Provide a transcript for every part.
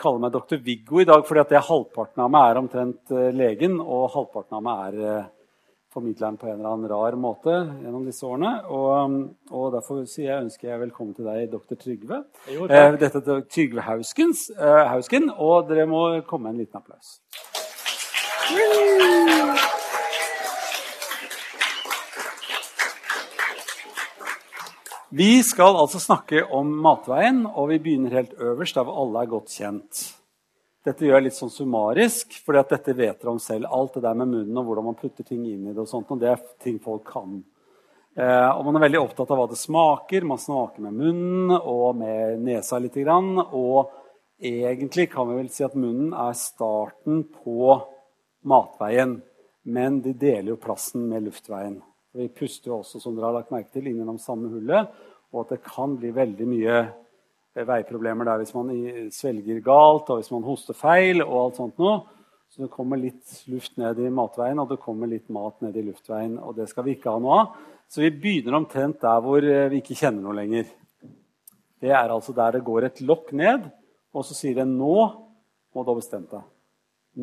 kaller meg doktor Viggo i dag fordi at det halvparten av meg er omtrent eh, legen, og halvparten av meg er eh, formidleren på en eller annen rar måte gjennom disse årene. Og, mm, og derfor sier jeg ønsker jeg velkommen til deg, doktor Trygve. Jo, Eh, takk. dette er Trygve Hauskens, eh, Hausken, og dere må komme med en liten applaus. Vi skal altså snakke om matveien, og vi begynner helt øverst, der hvor alle er godt kjent. Dette gjør jeg litt sånn summarisk, for dette vet dere om selv. Alt det der med munnen og hvordan man putter ting inn i det, og sånt, og det er ting folk kan. Eh, og man er veldig opptatt av hva det smaker. Man snaker med munnen og med nesa litt. Grann, og egentlig kan vi vel si at munnen er starten på matveien. Men de deler jo plassen med luftveien. Vi puster jo også, som dere har lagt merke til, inn gjennom samme hullet. Og at det kan bli veldig mye eh, veiproblemer der hvis man i- svelger galt, og hvis man hoster feil, og alt sånt noe. Så det kommer litt luft ned i matveien, og det kommer litt mat ned i luftveien. Og det skal vi ikke ha noe av. Så vi begynner omtrent der hvor eh, vi ikke kjenner noe lenger. Det er altså der det går et lokk ned, og så sier det 'nå må du ha bestemt deg'.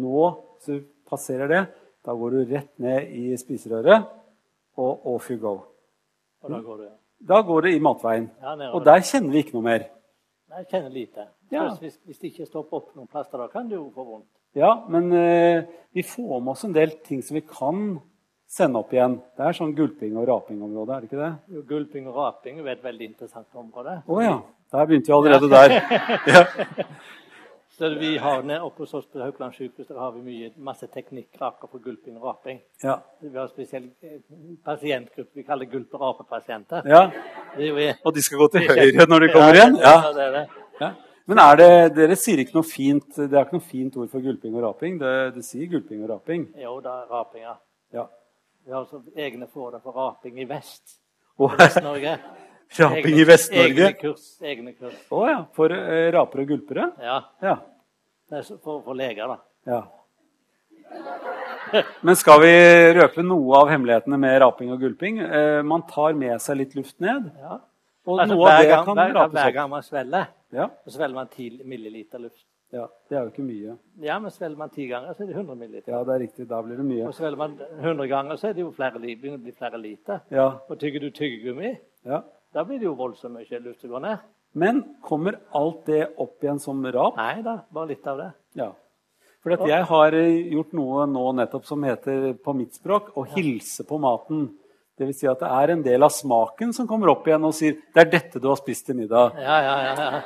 Nå så passerer det, da går du rett ned i spiserøret, og off you go. Og Mm. da går det. Da går det i matveien. Ja, nedover. Og der kjenner vi ikke noe mer. Nei, Jeg kjenner lite. Ja. Først, Hvis, hvis det ikke stopper opp noen plaster, da kan det jo få vondt. Ja, men eh, vi får med oss en del ting som vi kan sende opp igjen. Det er sånn gulping- og rapingområde, er det ikke det? Jo, Gulping og raping er et veldig interessant område. Å ja. Der begynte vi allerede der. Ja. Så vi har ned oppe hos oss på Haukeland sykehus der har vi mye, masse teknikkraker for gulping og raping. Ja. Vi har en spesiell eh, pasientgruppe vi kaller gulp- og rapepasienter. ja. Det er jo- Og de skal gå til høyre når de kommer igjen? Ja. det er det. Ja. Men er det, dere sier ikke noe fint Det er ikke noe fint ord for gulping og raping. Det, det sier gulping og raping. Jo, da er raping, ja. Ja. Vi har også egne for det for raping i vest. Og Vest-Norge. raping i Egne- Vest-Norge. Egne kurs. Egne kurs. Å ja. For eh, rapere og gulpere? Ja. Ja. Det er så- for, for leger, da. ja. Men skal vi røpe noe av hemmelighetene med raping og gulping? Eh, man tar med seg litt luft ned, Ja. og Altså, noe av hver, det gang, kan hver, hver rapes opp. gang man svelger, Ja. så svelger man 10 milliliter luft. ja. Det er jo ikke mye. Ja, men svelger man 10 ganger, så er det 100 milliliter. Ja, det er riktig. Da blir det mye. Og svelger man 100 ganger, så er det jo flere, li- begynner det å bli flere liter. Ja. Og tygger du tyggegummi, ja. da blir det jo voldsomt mye luft som går ned. Men kommer alt det opp igjen som rap? Nei da, bare litt av det. Ja. For at jeg har eh, gjort noe nå nettopp som heter på mitt språk å hilse på maten. Det vil si at det er en del av smaken som kommer opp igjen og sier 'det er dette du har spist til middag'. Ja, ja, ja. ja.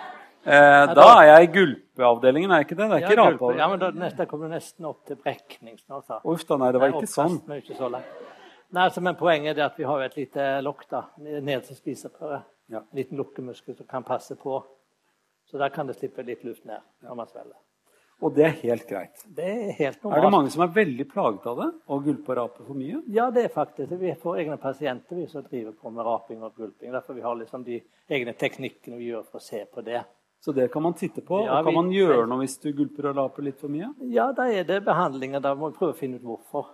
Eh, da da- er jeg i gulpeavdelingen, er jeg ikke det? Det er ikke ja, gulp- ja, rapeavdelingen. men da, neste kommer du nesten opp til brekning snart, da. Uff da, nei, det var ikke Oppkasten sånn. er jo ikke så lang. Nei, altså, men Poenget er det at vi har jo et lite lokk da, ned til spiserøret. Ja. En liten lukkemuskel som kan passe på. Så der kan det slippe litt luft ned når man svelger. Og det er helt greit. Det er helt Er det normalt. mange som er veldig plaget av det? Å gulpe og rape for mye? Ja, det er faktisk det. Vi får egne pasienter vi som driver på med raping og gulping. Derfor vi har liksom de egne teknikkene vi gjør for å se på det. Så det kan man titte på. Ja, og kan vi- man gjøre noe hvis du gulper og raper litt for mye? Ja, da er det behandlinger. Da må vi prøve å finne ut hvorfor.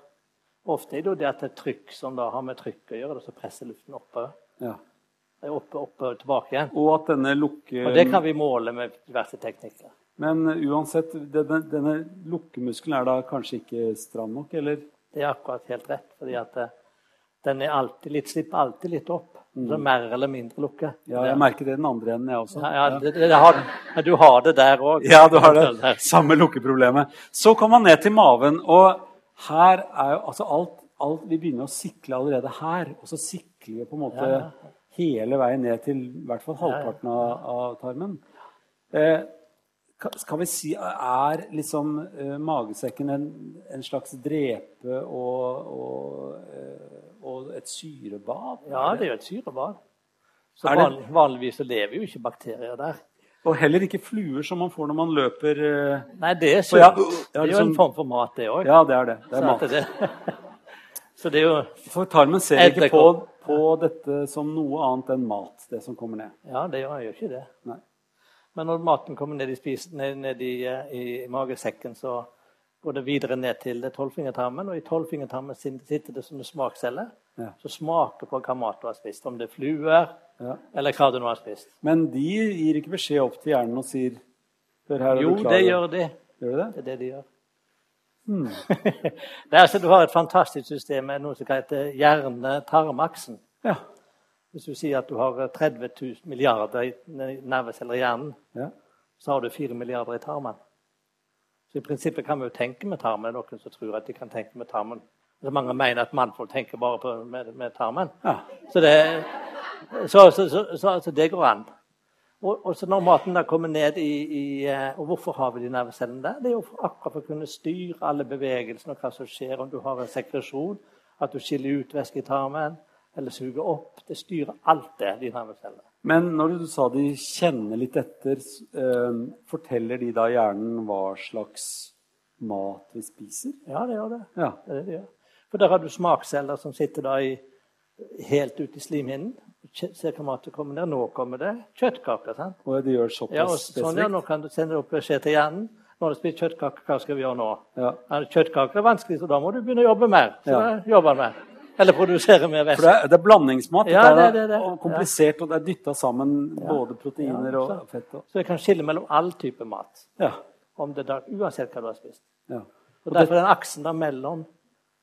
Ofte er det jo det at det er trykk som da har med trykk å gjøre, og så presser luften oppover. Ja. Det er Oppe, oppe og tilbake igjen. Og at denne lukke... Og det kan vi måle med diverse teknikker. Men uansett, denne, denne lukkemuskelen er da kanskje ikke stram nok, eller? Det er akkurat helt rett. fordi at eh, den er alltid litt, slipper alltid litt opp. Så mer eller mindre lukke. Mm. Ja, jeg merker det i den andre enden, jeg også. Ja, ja, det, det, det har, men du har det der òg. Ja, du har det samme lukkeproblemet. Så kom man ned til maven, og her er jo altså alt, alt Vi begynner å sikle allerede her, og så sikler vi på en måte Ja, ja. hele veien ned til i hvert fall halvparten av, av tarmen. Eh, ka- skal vi si Er liksom eh, magesekken en, en slags drepe og, og, eh, og et syrebad? Ja, det er jo et syrebad. Så Er det- vanlig, vanligvis så lever jo ikke bakterier der. Og heller ikke fluer, som man får når man løper eh, Nei, det er ja, sunt. Det ja, er jo en liksom- form for mat, det òg. Ja, det er det. Det er Så, mat. at det, så det er jo For tarmen ser Edderkopp. ikke på, på dette som noe annet enn mat, det som kommer ned. Ja, det gjør jo ikke det. Nei. Men når maten kommer ned i, spis, ned, ned i, eh, i magesekken, så går det videre ned til tolvfingertarmen. Og i tolvfingertarmen sin- sitter det som en smakscelle Ja. som smaker på hva mat du har spist. Om det er fluer Ja. eller hva du nå har spist. Men de gir ikke beskjed opp til hjernen og sier Hør her, er du Jo, klar det over- gjør de. Gjør du det? Det er det de gjør. Hmm. det er altså, du har et fantastisk system med noe som heter hjerne-tarmaksen. Ja. Hvis du sier at du har 30 000 milliarder i nerveceller i hjernen, ja. så har du 4 milliarder i tarmen. Så i prinsippet kan vi jo tenke med tarmen. Noen som tror at de kan tenke med tarmen. Altså, mange mener at mannfolk tenker bare på, med, med tarmen. Ja. Så det, så, så, så, så, altså, det går an. Og, og så når maten da kommer ned i, i eh, Og hvorfor har vi de nervecellene der? Det er jo for, akkurat for å kunne styre alle bevegelsene og hva som skjer om du har en sekresjon, at du skiller ut væske i tarmen, eller suger opp. Det styrer alt det, de nervecellene. Men når du sa de kjenner litt etter, s- eh, forteller de da hjernen hva slags mat vi spiser? Ja, det gjør det. Ja. Det er det de gjør. Eh, For der har du smaksceller som sitter da i, helt ute i slimhinnen. Kje- Ser hva mat som kommer der. Nå kommer det kjøttkaker. sant? Og de gjør såpass Ja, og sånn, ja, spesifikt? nå kan du sende opp beskjed til hjernen. Nå har du spist kjøttkaker, hva skal vi gjøre nå? Ja. Er det Kjøttkaker er vanskelig, så da må du begynne å jobbe mer. Så Ja. da jobber han mer. Eller produsere mer For det væske. er, det er blandingsmat. Ja, dette er det er det, det er. Og komplisert, og det er dytta sammen både proteiner Ja, og sant. fett. Og, Så jeg kan skille mellom all type mat, ja, om det er da, uansett hva du har spist. ja. Og Derfor er den aksen da mellom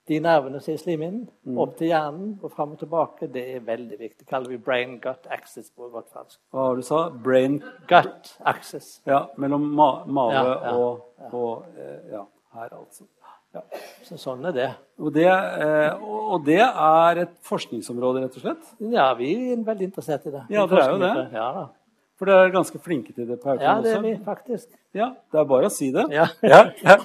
de nervene som er i slimhinnen, Mm. opp til hjernen og fram og tilbake, det er veldig viktig. Det kaller vi brain gut access på godt fransk. Hva var det du sa? Brain Gut access. ja, mellom ma mage Ja, ja, og, og eh, Ja, her, altså. Så sånn er det. Og det, eh, og og det er et forskningsområde, rett og slett? Ja, vi er veldig interessert i det. Ja, dere er jo det. Ja, da. For dere er ganske flinke til det på Haukeland ja, det også? er vi faktisk. Ja, det er bare å si det. Ja. ja.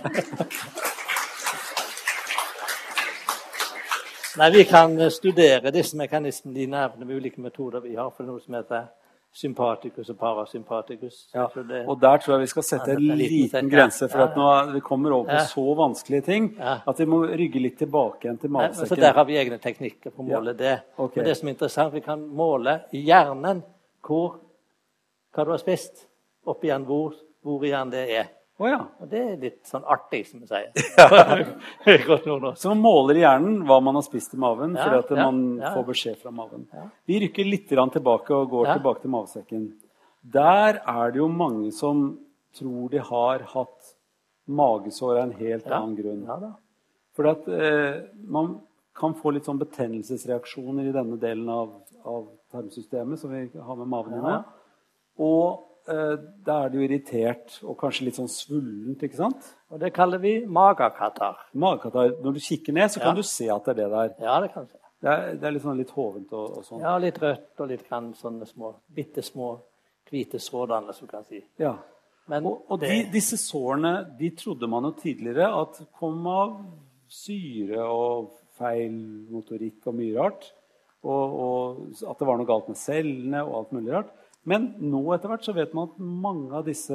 Nei, Vi kan eh, studere disse mekanismene i nervene med ulike metoder vi har for noe som heter sympatikus og parasympatikus. Ja, Så det, og der tror jeg vi skal sette Ja, en dette er liten liten sekk, ja. grense, for Ja, at nå er- vi kommer over på Ja. så vanskelige ting Ja. at vi må rygge litt tilbake igjen til Nei, men så der magesekken. har vi egne teknikker for å måle det. Ok. Men det som er interessant, vi kan måle i hjernen hvor, hva du har spist. Oppi hjernen hvor, hvor i hjernen det er. Å ja. Og det er litt sånn artig, som vi sier. Godt nordnorsk. Så man måler i hjernen hva man har spist i maven, Ja, fordi at ja, man ja. får beskjed fra maven. Vi rykker litt grann tilbake og går Ja. tilbake til magesekken. Der er det jo mange som tror de har hatt magesår av en helt Ja. annen grunn. Ja, da. For at, eh, man kan få litt sånn betennelsesreaksjoner i denne delen av, av tarmsystemet, som vi har med maven i nå. Ja. Og eh, da er det jo irritert og kanskje litt sånn svullent, ikke sant? Og det kaller vi magakatar. Magekatarr. Når du kikker ned, så kan Ja. du se at det er det der. Ja, det kan vi si. Det er, det er litt sånn litt hovent og, og sånn. Ja, litt rødt og litt grann sånne små, bitte små hvite strådaler, som du kan si. Ja. Men Og, og de, det, disse sårene de trodde man jo tidligere at kom av syre og feil motorikk og mye rart. Og, og at det var noe galt med cellene og alt mulig rart. Men nå etter hvert så vet man at mange av disse,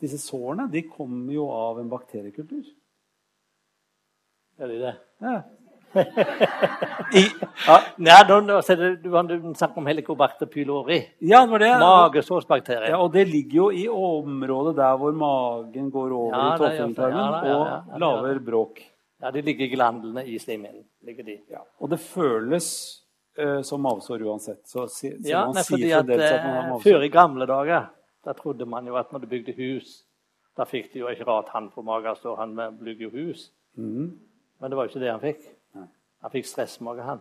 disse sårene de kommer jo av en bakteriekultur. Gjør de det? Ja. Ja, nei, nå, nå, så det, du, du snakker om helicobacter pylori. ja, det var det. Ja, Magesårsbakterier. og det ligger jo i området der hvor magen går over Ja, i det gjør det. tolvfingertarmen Ja, da, ja, ja, ja, og det gjør lager bråk. Ja, de ligger i glandene i slimhinnen. ligger de. Ja. Og det føles eh, som mavesår uansett. Så, si, selv Ja, om man nei, fordi sier at fremdeles at man har eh, mavesår. Før i gamle dager da trodde man jo at når du bygde hus Da fikk du jo ikke rart han på magen står han med bygger jo hus. Mhm. Men det var jo ikke det han fikk. Han fikk stressmage, han.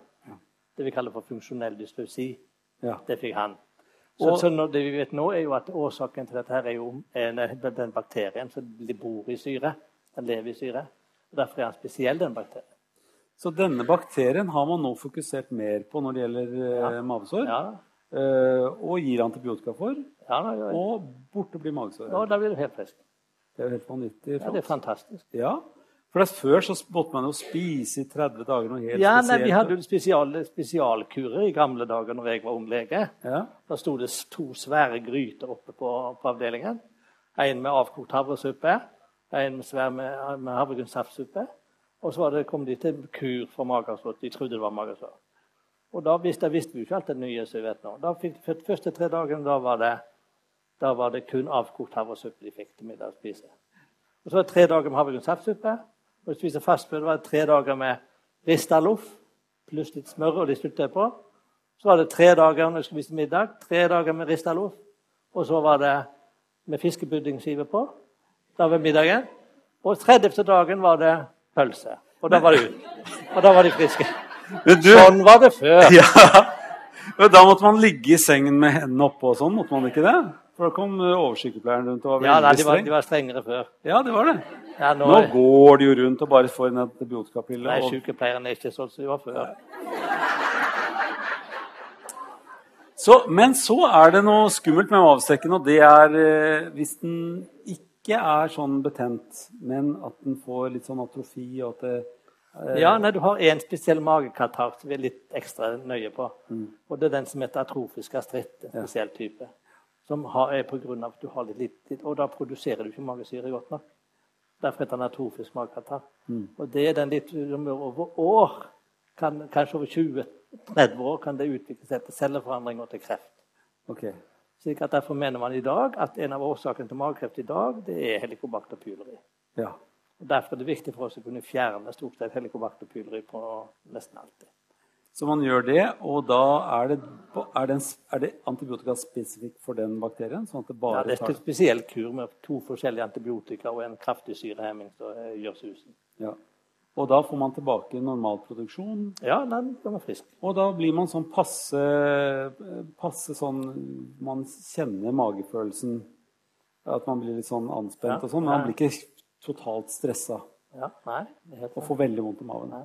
Det vi kaller for funksjonell dysleusi. Ja. Det fikk han. Så, Og- så nå, det vi vet nå, er jo at årsaken til dette her er jo en, den bakterien som de bor i syre. Den lever i syre. Og Derfor er han spesiell, den bakterien. Så denne bakterien har man nå fokusert mer på når det gjelder eh, mavesår. Ja, eh, og gir antibiotika for. ja, da, ja. Og, Og borte blir magesår. da blir du helt frisk. Det er jo helt vanvittig. Ja, det er fantastisk. Ja. For det er før så måtte man jo spise i 30 dager noe helt Ja, nei, spesielt. Vi hadde jo spesial, spesialkurer i gamle dager når jeg var ung lege. ja. Da sto det to svære gryter oppe på, på avdelingen. En med avkokt havresuppe, en med svær med, med havregrynssaftsuppe. Og så var det, kom de til kur for magesår. De trodde det var magesår. Og da visste, da visste vi jo ikke alt det nye som vi vet nå. Da fikk, for de første tre dagene da var det, da var det kun avkokt havresuppe de fikk til middag å spise. Og så var det tre dager med havregrynssaftsuppe. Og spise fastføde var det tre dager med rista loff pluss litt smør og litt syltetøy på. Så var det tre dager når jeg skulle spise middag, tre dager med rista loff. Og så var det med fiskepuddingskive på. Da var middagen. Og 30. dagen var det pølse. Og da var det ut. Og da var de friske. Men du, Sånn var det før. ja. Men da måtte man ligge i sengen med hendene oppe og sånn, måtte man ikke det? For da kom eh, oversykepleieren rundt og var Ja, veldig nei, de var, streng. de var strengere før. Ja, det var det. Ja, nå Nå går de jo rundt og bare får en antibiotikapille. Nei, Og... sykepleierne er ikke sånn som de var før. Så, men så er det noe skummelt med mavsekken, og det er eh, hvis den ikke er sånn betent, men at den får litt sånn atrofi og at det eh, Ja, nei, Du har én spesiell magekatarr som vi er litt ekstra nøye på. Og Det er den som heter atrofisk gastritt, en spesiell type. Som har, er på grunn av at du har litt, litt, litt Og da produserer du ikke magesyre godt nok. Derfor heter den atrofisk magekatarr. Og det er den litt som over år, kan, kanskje over 20-30 år, kan det utvikle seg til celleforandringer og til kreft. Ok. Slik at Derfor mener man i dag at en av årsakene til magekreft i dag, det er helikobakter pylori. Ja. Og Derfor er det viktig for oss å kunne fjerne stort sett helikobakter pylori på nesten alltid. Så man gjør det, og da er det, er det, en, er det antibiotika spesifikt for den bakterien? Sånn at det Ja, bare det er tar en spesiell kur med to forskjellige antibiotika og en kraftig syrehemming som eh, gjør susen. ja. Og da får man tilbake normal produksjon, Ja, den blir man frisk. og da blir man sånn passe, passe sånn Man kjenner magefølelsen, at man blir litt sånn anspent Ja, og sånn, men man ja. blir ikke totalt stressa Ja, nei, det er helt og sant. får veldig vondt i maven.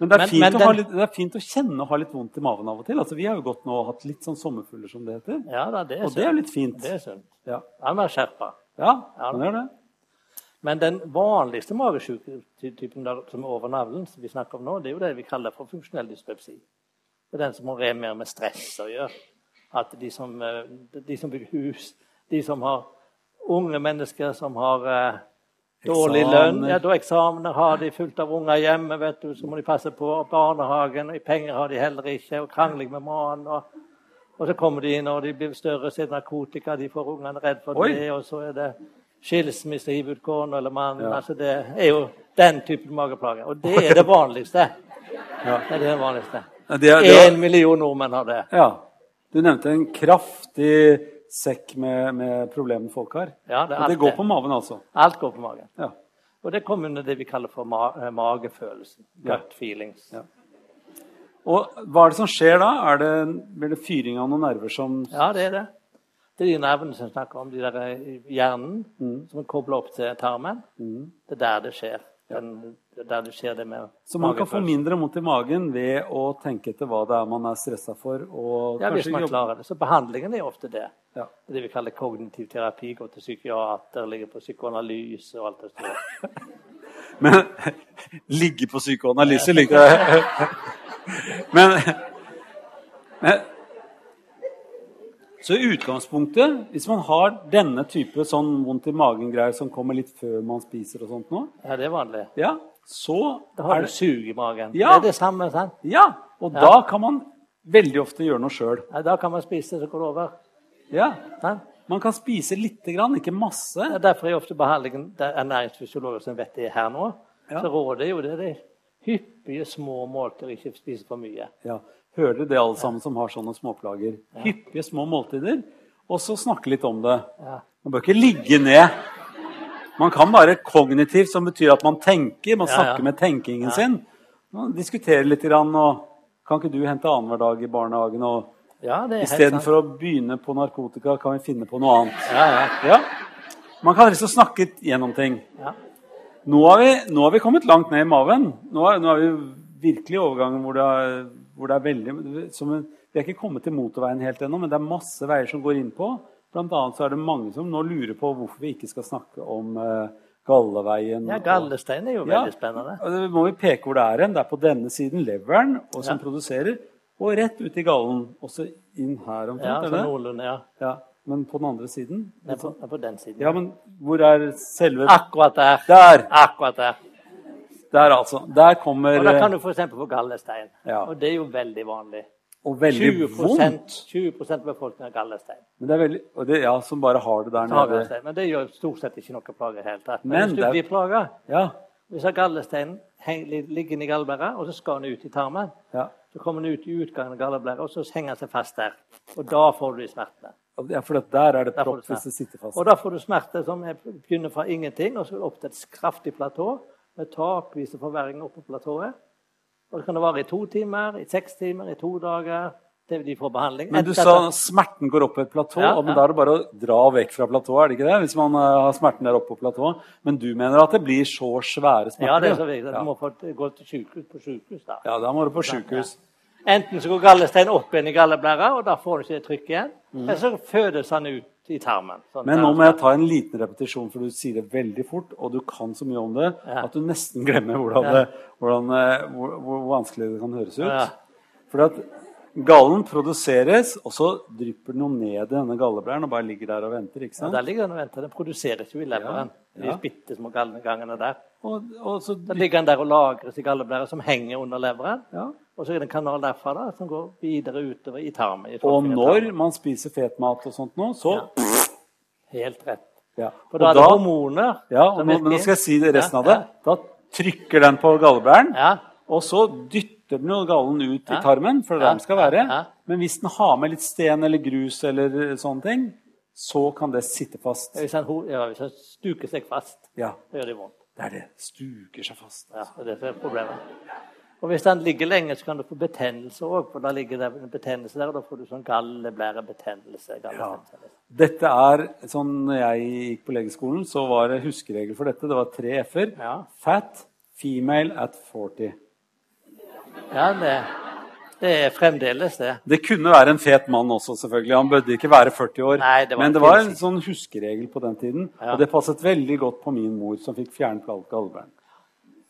Men det er, Men- fint men å ha den- litt, det er fint å kjenne og ha litt vondt i maven av og til. Altså, vi har jo gått nå og hatt litt sånn sommerfugler, som det heter. Ja, da, det er Og det er litt fint. Det er sunt. Ja, Ja, man er skjerpa. ja Ja. man gjør det. Men den vanligste magesyketypen der som er over navlen, som vi snakker om nå, det er jo det vi kaller for funksjonell dyspepsi. Det er den som har mer med stress å gjøre. At de som, eh, de som bygger hus, de som har unge mennesker som har eh, dårlig lønn Eksamener. ja, da Eksamener har de fullt av unger hjemme, vet du, så må de passe på og barnehagen. og Penger har de heller ikke, og krangling med mannen. Og, og så kommer de inn, og de blir større, så er det narkotika, de får ungene redd for Oi. det, og så er det skilsmisse, hiv ut kona eller mannen. Ja. Altså, det er jo den typen mageplager. Og det er det vanligste. Ja. Det er det vanligste. Ja, det er- det er- Én million nordmenn har det. Ja. Du nevnte en kraftig sekk med, med problemer folk har. Ja, det er og det alt går det. på maven, altså. Alt går på magen. Ja. Og det kommer under det vi kaller for ma eh, magefølelsen. Gut feelings. Ja. Og hva er det som skjer da? Er det, blir det fyring av noen nerver som Ja, det er det. Det er de nervene som snakker om de der eh, i hjernen Mm. som er kobla opp til tarmen. Det er der det skjer. Den, det er der det skjer det med Så man kan få magefølelsen. mindre vondt i magen ved å tenke etter hva det er man er stressa for, og Ja, hvis kanskje man jobbe klarer det. Så behandlingen er ofte det. Ja. Det vi kaller kognitiv terapi. Gå til psykiater, ligge på psykoanalyse og alt det der. Men ligge på psykoanalyse likte jeg. Men, men Så i utgangspunktet, hvis man har denne type sånn vondt i magen-greier som kommer litt før man spiser og sånt nå, Ja, det er vanlig. ja, så Da har er du det sug i magen. Ja. Det er det samme, sant? Ja! Og Ja. da kan man veldig ofte gjøre noe sjøl. Ja, da kan man spise, så går det over. Ja. Sant? Man kan spise lite grann, ikke masse. Ja, derfor er ofte behandlingen det er næringsfysiologer som vet det her nå. Ja. Så rådet er jo det. det er hyppige små måltider, ikke spise for mye. Ja. Hører dere det, alle sammen som har sånne småplager? Hyppige små måltider, og så snakke litt om det. Ja. Man bør ikke ligge ned. Man kan være kognitiv, som betyr at man tenker. Man Ja, ja. snakker med tenkingen sin. Man diskuterer litt. Grann, og kan ikke du hente annenhver dag i barnehagen? Og Ja, det er helt sant. istedenfor å begynne på narkotika, kan vi finne på noe annet. Ja, ja. Ja. Man kan liksom snakke gjennom ting. Ja. Nå har, vi, nå har vi kommet langt ned i maven. Nå er, nå er vi virkelig i overgangen hvor det er, hvor det er veldig som en, Vi er ikke kommet til motorveien helt ennå, men det er masse veier som går innpå. Blant annet så er det mange som nå lurer på hvorfor vi ikke skal snakke om eh, Galleveien. ja, gallestein er jo Ja, veldig spennende. og det må vi peke hvor det er hen. Det er på denne siden, leveren, og som Ja. produserer. Og rett ut i gallen. Også inn her omtrent. Ja, er så det? noenlunde, ja. ja, men på den andre siden? Det er på, det er på den siden. Ja, men hvor er selve Akkurat der. Der! Akkurat der. Der, altså. Der kommer Og da kan eh, du f.eks. få gallestein. Ja. Og det er jo veldig vanlig. eh, Og veldig 20 vondt. 20 av befolkningen har gallestein. Men det er veldig, og det, ja, som bare har det der Så har vi nede. gallestein, Men det gjør stort sett ikke noe plager i det hele tatt. Men Men hvis det- du blir plaga Ja, Hvis har gallesteinen heng- li- ligger i gallblæra, og så skal den ut i tarmen, ja. så kommer den ut i utgangen av galleblæra, og så henger den seg fast der. Og da får du de smertene. Ja, for det- der er det Der får propp du hvis det sitter fast. Og da får du smerte som er- begynner fra ingenting, og så opp til et kraftig platå med takvise forverringer oppå platået. Og det kan det vare i to timer, i seks timer, i to dager, til de får behandling. Men du Etter- sa smerten går opp på et platå. Ja, og men ja. Da er det bare å dra vekk fra platået, er det ikke det? Hvis man eh, har smerten der oppe på platået. Men du mener at det blir så svære smerter? Ja, det er så viktig. at Du Ja. må få gå til sykehus, på sykehus da. Ja, da må du på sjukehus. Enten så går gallesteinen opp igjen i galleblæra, og da får du ikke det trykket igjen. Eller så fødes han ut i tarmen. Mhm. Sånn Men der. nå må jeg ta en liten repetisjon, for du sier det veldig fort, og du kan så mye om det Ja. at du nesten glemmer hvordan, Ja. det, hvordan, eh, hvor, hvor vanskelig det kan høres ut. Ja. For at gallen produseres, og så drypper den jo ned i denne galleblæren og bare ligger der og venter. ikke Og sant? Der ligger den og venter. Den produserer ikke i leveren, Ja, ja. de bitte små gallegangene der. Og, og så Da ligger den der og lagres i galleblæra, som henger under leveren. ja. Og så er det en kanal derfra da, som går videre utover i tarmen. i Og folkene i når tarmen. man spiser fet mat og sånt nå, så Helt rett. Ja. For Og da er det da- hormoner. Ja, og som nå, virker nå inn. skal jeg si det resten Ja, av det. Da trykker den på galleblæren, Ja. og så dytter den jo gallen ut i Ja. tarmen, for det er Ja, der den skal være. ja, ja. Men hvis den har med litt sten eller grus eller eh, sånne ting, så kan det sitte fast. Hvis han, ho- ja, hvis han stuker seg fast, Ja, det gjør det vondt. det er det. Stuker seg fast. Ja, og det er problemet. Og hvis den ligger lenge, så kan du få betennelse òg. For da ligger det en betennelse der, og da får du sånn galleblærebetennelse. Ja. gallebetennelse. Dette er sånn når jeg gikk på legeskolen, så var det huskeregel for dette. Det var tre F-er. Ja. Fat, female at 40. Ja, det, det er fremdeles det. Det kunne være en fet mann også, selvfølgelig. Han bødde ikke være 40 år. Nei, det var men en det var en kvinnesyn. sånn huskeregel på den tiden. Ja. Og det passet veldig godt på min mor, som fikk fjernet alt galleblæren.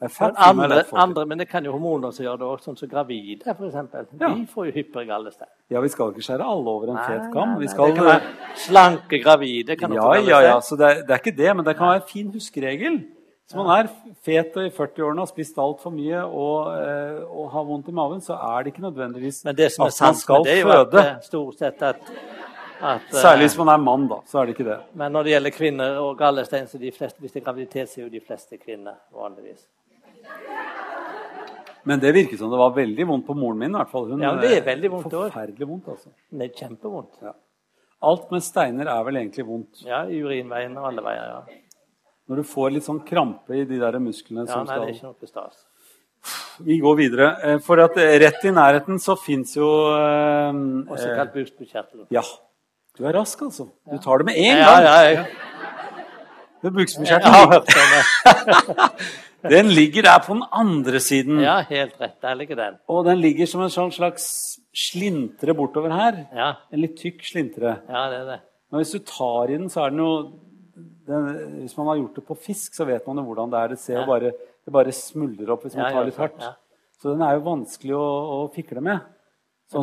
Det er fett, Men andre, men det er 40. andre, men det kan jo hormoner som gjør det òg, sånn som gravide f.eks. Ja. De får jo hyppigere gallestein. Ja, vi skal ikke skjære alle over en fet kam. Vi det skal... kan være slanke gravide kan Ja, også ja, ja. gallestein. Så det er, det er ikke det, men det kan være en fin huskeregel. Hvis man er fet og i 40-årene har spist altfor mye og, eh, og har vondt i maven, så er det ikke nødvendigvis Men det som er at man sant, med skal det er jo at føde. eh, stort sett at, at eh, Særlig hvis man er mann, da. Så er det ikke det. Men når det gjelder kvinner og gallestein, så de fleste, hvis det er graviditet, så er jo de fleste kvinner vanligvis. Men det virket som det var veldig vondt på moren min. i hvert fall. Hun, Ja, men det er veldig vondt også. Forferdelig vondt, altså. Men Det er kjempevondt. Ja. Alt med steiner er vel egentlig vondt. Ja, i urinveien og alle veier. Ja, Når du får litt sånn krampe i de der musklene ja som nei, det er skal ikke noe stas. Vi går videre. Eh, For at eh, rett i nærheten så fins jo eh, Også eh, kalt bukspyttkjertelen. Ja. Du er rask, altså. Du tar det med en Ja, gang. ja, jeg, Det er jeg har bukspyttkjertelen. hørt om det. Den ligger der på den andre siden. Ja, helt rett. Der ligger den. Og den ligger som en sånn slags slintre bortover her. Ja, En litt tykk slintre. ja det er det. Men hvis du tar i den, så er den jo den, Hvis man har gjort det på fisk, så vet man jo hvordan det er. Det ser jo Ja. bare, det bare smuldrer opp hvis man Ja, tar ja, litt hardt. ja. Så den er jo vanskelig å, å fikle med. Men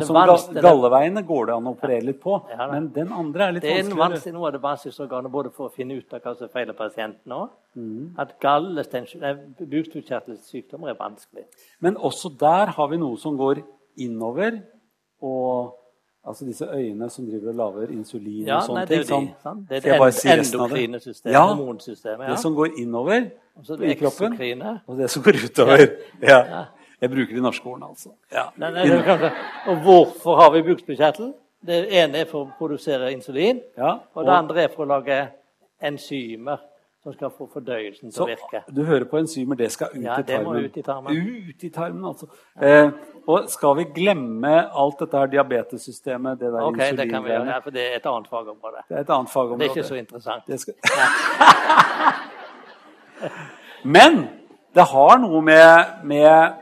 Sånn det som ga- vanskelig- galleveiene går det an å operere litt på, Ja da. men den andre er litt Det er en vanskeligere. vanskelig, noe av det vanskeligste organet både for å finne ut av hva som feiler pasienten òg. Mm. At gallestein- nei, bukspyttkjertelsykdommer er vanskelig. Men også der har vi noe som går innover, og altså disse øyene som driver og lager insulin Ja, og nei, sånne det er ting. jo de. sånn. sant? Det Skal er jeg bare det si resten av det? endokrine systemet, Ja. hormonsystemet. Det Ja. som går innover Og så er i det kroppen, eksokrine. og det som går utover. Ja. Jeg bruker de norske ordene, altså. Ja. Nei, nei, det er kanskje- Og hvorfor har vi bukspyttkjertel? Det ene er for å produsere insulin, Ja, og og- det andre er for å lage enzymer som skal få fordøyelsen til Så å virke. du hører på enzymer, det skal ut Ja, i tarmen. det må ut i tarmen. Ut i tarmen, altså. Eh, og skal vi glemme alt dette her diabetessystemet, det der Ok, det kan vi gjøre, insulingreiene? ja, for det er et annet fagområde. Det er et annet fagområde. Det er ikke så interessant. Det skal... Men det har noe med, med,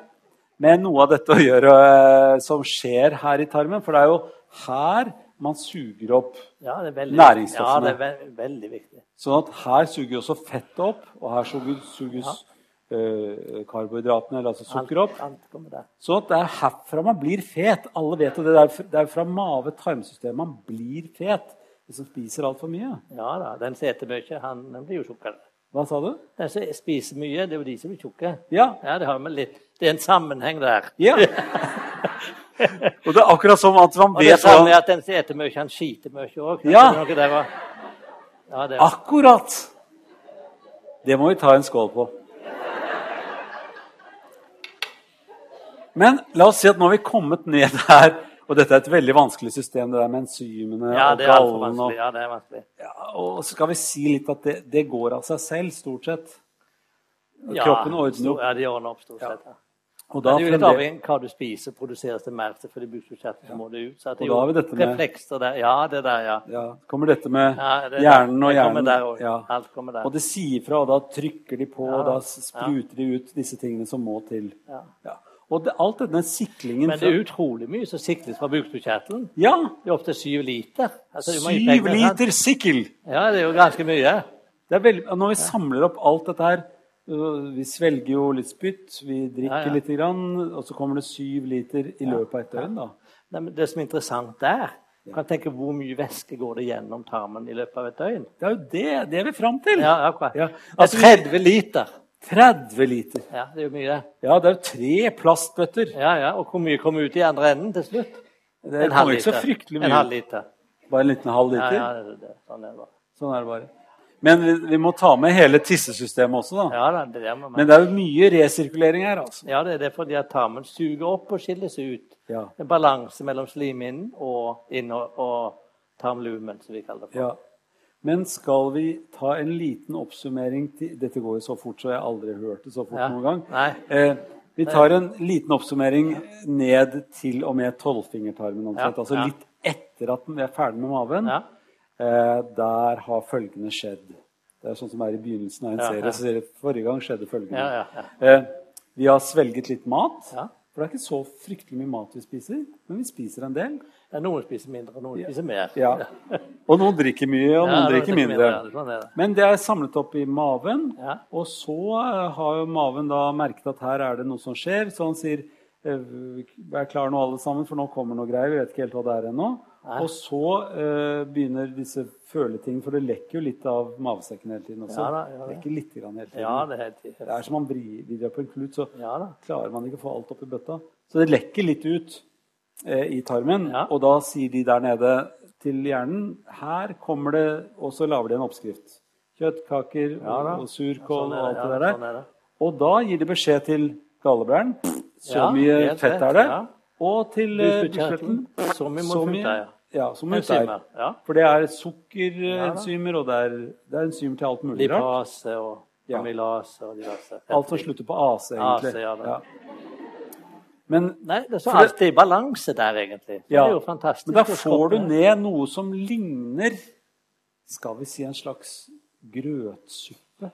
med noe av dette å gjøre eh, som skjer her i tarmen. For det er jo her man suger opp. Ja, det er veldig, Ja, det Næringsstoffene. er ve veldig viktig. Sånn at her suger også fettet opp, og her suger, suges eh, karbohydratene, eller altså Alt- sukker, opp. Alt kommer der. Sånn at det er herfra man blir fet. Alle vet jo det. Det er fra- Det er fra mave-tarmsystemet man blir fet. Hvis man spiser altfor mye. Ja da, den som spiser mye, han den blir jo tjukkere. Hva sa du? Den som spiser mye, det er jo de som blir tjukke. Ja. Ja, det har vi litt. Det er en sammenheng der. Ja. og det sånn, er akkurat som at man Og det vet samme er sånn hvordan at den som spiser mye, han skiter mye òg. Ja. Ah, Ja, det, Akkurat! Det må vi ta en skål på. Men la oss si at nå har vi kommet ned her, Og dette er et veldig vanskelig system, det der med enzymene Ja, og det er altfor gallen. vanskelig. Og, Ja, det er vanskelig. ja, og skal vi si litt at det, det går av seg selv, stort sett. Ja, Kroppen ordner stor- opp. Ja, de ordner opp stort sett. Ja. Og da, Men det er jo litt fremdeles- avhengig av hva du spiser, produseres det mer til, for i bukspyttkjertelen må det ut. Så at Og det er jo da har vi dette med- reflekser der. Ja, det der, ja. ja, kommer dette med ja det, hjernen og det kommer hjernen. Der også. ja. Alt kommer der. Og det sier fra, og da trykker de på, og da spruter de ut disse tingene som må til. Ja. Ja. Og det, alt denne siklingen Men det er utrolig mye som siktes fra bukspyttkjertelen. fra- Ja! Det er opptil syv liter. Altså, det er jo mange Syv penger, sant? liter sikkel! Ja, det er jo ganske mye. Det er veldig, og når vi samler opp alt dette her øh, Vi svelger jo litt spytt, vi drikker Ja, ja. lite grann, og så kommer det syv liter i løpet av et døgn. da. Nei, men Det som er interessant der, du kan tenke hvor mye væske går det gjennom tarmen i løpet av et døgn. Det er jo det, det er vi fram til! Ja, akkurat. Ja, altså- Altså, 30 liter. 30 liter. Ja, det er jo mye, det. Ja, det er jo tre plastbøtter. Ja, ja, Og hvor mye kommer ut i andre enden til slutt? Det kommer ikke så fryktelig En mye. halv liter. Bare en liten halv Ja, liter. ja, det, det, sånn er det bare. Sånn er det bare. Men vi, vi må ta med hele tissesystemet også, da. Ja, da, det der må man... Men det er jo mye resirkulering her, altså. ja, det det er fordi at tarmen suger opp og skilles ut. Ja. En balanse mellom slimhinnen og, inn- og, og tarmlumen, som vi kaller det. for. Ja. Men skal vi ta en liten oppsummering til Dette går jo så fort, så jeg har aldri hørt det så fort Ja. noen gang. Nei. Eh, vi tar en liten oppsummering ned til og med tolvfingertarmen. omtrent. Ja, Altså ja. litt etter at den- vi er ferdig med maven. Ja. Eh, der har følgende skjedd. Det er sånn som er i begynnelsen av en Ja, serie. ja. Så sier jeg, Forrige gang skjedde følgende. Ja, ja, Eh, vi har svelget litt mat. Ja. For det er ikke så fryktelig mye mat vi spiser, men vi spiser en del. Ja, noen spiser mindre, og noen spiser mer. Ja. Og noen drikker mye, og Ja, noen noen drikker drikker mindre. mindre, ja, sånn er det. Men det er samlet opp i maven, Ja. og så eh, har jo maven da merket at her er det noe som skjer, så han sier eh, Vær klar nå, alle sammen, for nå kommer noe greier. Vi vet ikke helt hva det er ennå. Og så eh, begynner disse føletingene, for det lekker jo litt av mavesekken hele tiden også. Ja da, ja da. Det lekker litt grann hele tiden. Ja, det er helt Det er som man vrir videre på en klut, så Ja da. klarer man ikke å få alt opp i bøtta. Så det lekker litt ut eh, i tarmen, Ja. og da sier de der nede til hjernen Her kommer det Og så lager de en oppskrift. Kjøttkaker Ja da. og, og surkål Sånn er og alt det, det ja, der. sånn er det. Og da gir de beskjed til galleblæren Så Ja, mye helt fett rett, er det. ja. Og til eh, bukspytten Bukspyttkjertelen. Så mye må så ut mye der, ja. ja, som ut der. Enzymer, ja. For det er sukkerenzymer, og det er, det er enzymer til alt mulig rart. Lipase og Ja. amylase og diverse. Alt som slutter på AC, egentlig. AC, ja da. Men, Nei, det er så For det- alltid balanse der, egentlig. Så ja. Det er jo fantastisk. Men da hvordan får du kroppen- ned noe som ligner Skal vi si en slags grøtsuppe?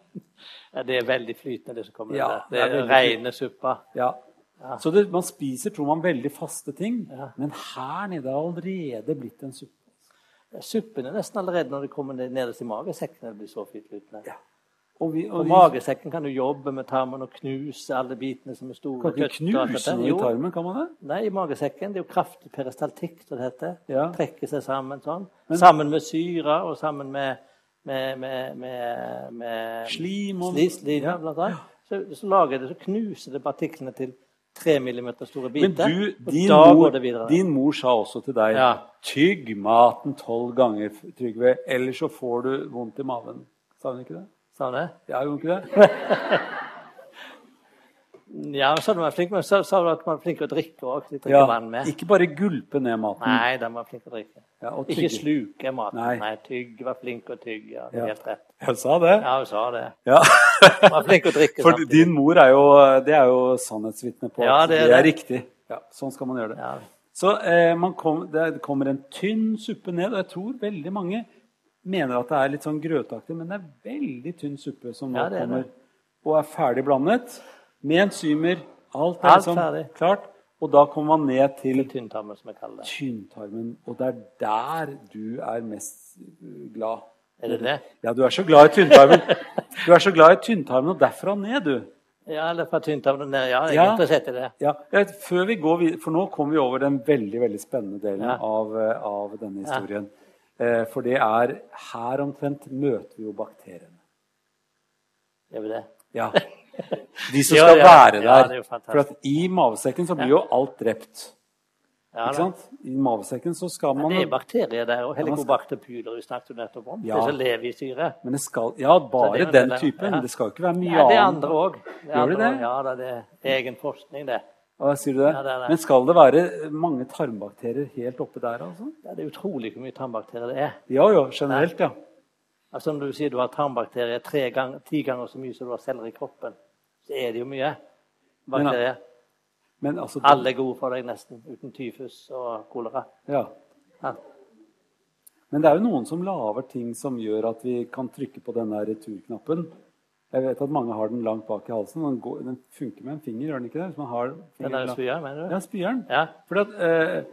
Ja, Det er veldig flytende, det som kommer Ja, der. det er Det er veldig rene suppa. Ja. Så det, man spiser, tror man, veldig faste ting. Ja. Men her nede har allerede blitt en suppe. Suppen er nesten allerede når det kommer ned- nederst i magesekken. når Det blir så flytende. Ja. Og vi, og Og vi magesekken kan du jobbe med tarmen og knuse alle bitene som er store. kan ikke kjøtt og alt knuse dette. noe i Jo, tarmen, kan man det? Nei, i magesekken. Det er jo kraftig peristaltikk, som det heter. Ja. Trekker seg sammen sånn. Sammen med syre og sammen med, med, med, med, med Slim og- Sli- slim, Ja. blant annet. Så, så lager det, så knuser det partiklene til tre millimeter store Men biter. du, og din, da mor, går det videre. din mor sa også til deg Ja. Tygg maten tolv ganger, Trygve, ellers så får du vondt i maven. Sa hun ikke det? Sa hun det? Ja, gjorde hun ikke det? Ja, så var man flink, men så sa du at man er flink til å drikke òg. Drikke Ja. vann med. Ikke bare gulpe ned maten. Nei, da var man flink til å drikke. Ja, og Ikke Mm. tygge. sluke maten. Nei. Nei. tygg. Var flink til å tygge. Ja, det Ja. er helt rett. Jeg sa det. Ja, hun sa det. Ja. Var flink til å drikke For samtidig. din mor er jo, det er jo sannhetsvitne på Ja, at det det er er, det. riktig. Ja, sånn skal man gjøre det. Ja. Så eh, man kom, det kommer en tynn suppe ned, og jeg tror veldig mange mener at det er litt sånn grøtaktig, men det er veldig tynn suppe som nå Ja, det er kommer det. og er ferdig blandet med enzymer. Alt er Alt liksom ferdig. klart. Og da kommer man ned til Tynntarmen, som jeg kaller det. tynntarmen, og det er der du er mest eh, glad. Er det det? Ja, du er så glad i tynntarmen. Du er så glad i tynntarmen, og derfra ned, du. Ja, eller fra tynntarmen og ned. Ja, jeg Ja. er interessert i det. Ja, jeg vet, før vi går videre, For nå kommer vi over den veldig veldig spennende delen Ja. av, eh, av denne historien. Eh, For det er her omtrent møter vi jo bakteriene. Gjør vi det? Ja. De som Ja, skal ja. være der. Ja, det er jo fantastisk. for at i mavesekken så blir jo alt drept. Ja, Ikke da. sant? I mavesekken så skal man Det er bakterier der, og helikobakter pyler vi snakket jo nettopp om. Ja. Det som lever i syre. Men det skal Ja, bare det er den det- typen. ja. Det skal jo ikke være mye Ja, det er annet. andre òg. Gjør de det? Ja, da, det er egen forskning, det. Hva sier du der? Ja, det er det. Men skal det være mange tarmbakterier helt oppe der? altså? Ja, Det er utrolig hvor mye tarmbakterier det er. Ja jo, generelt, ja. Altså, Om du sier du har tarmbakterier tre gang, ti ganger så mye som du har celler i kroppen, så er det jo mye bakterier. Men altså, Alle er gode for deg, nesten. Uten tyfus og kolera. ja. Ja. Men det er jo noen som lager ting som gjør at vi kan trykke på den der returknappen. Jeg vet at mange har den langt bak i halsen. Den, går, den funker med en finger, gjør den ikke det? Hvis man har Den der fingeren- spya, mener du? Ja, spyeren. Ja. Fordi at eh,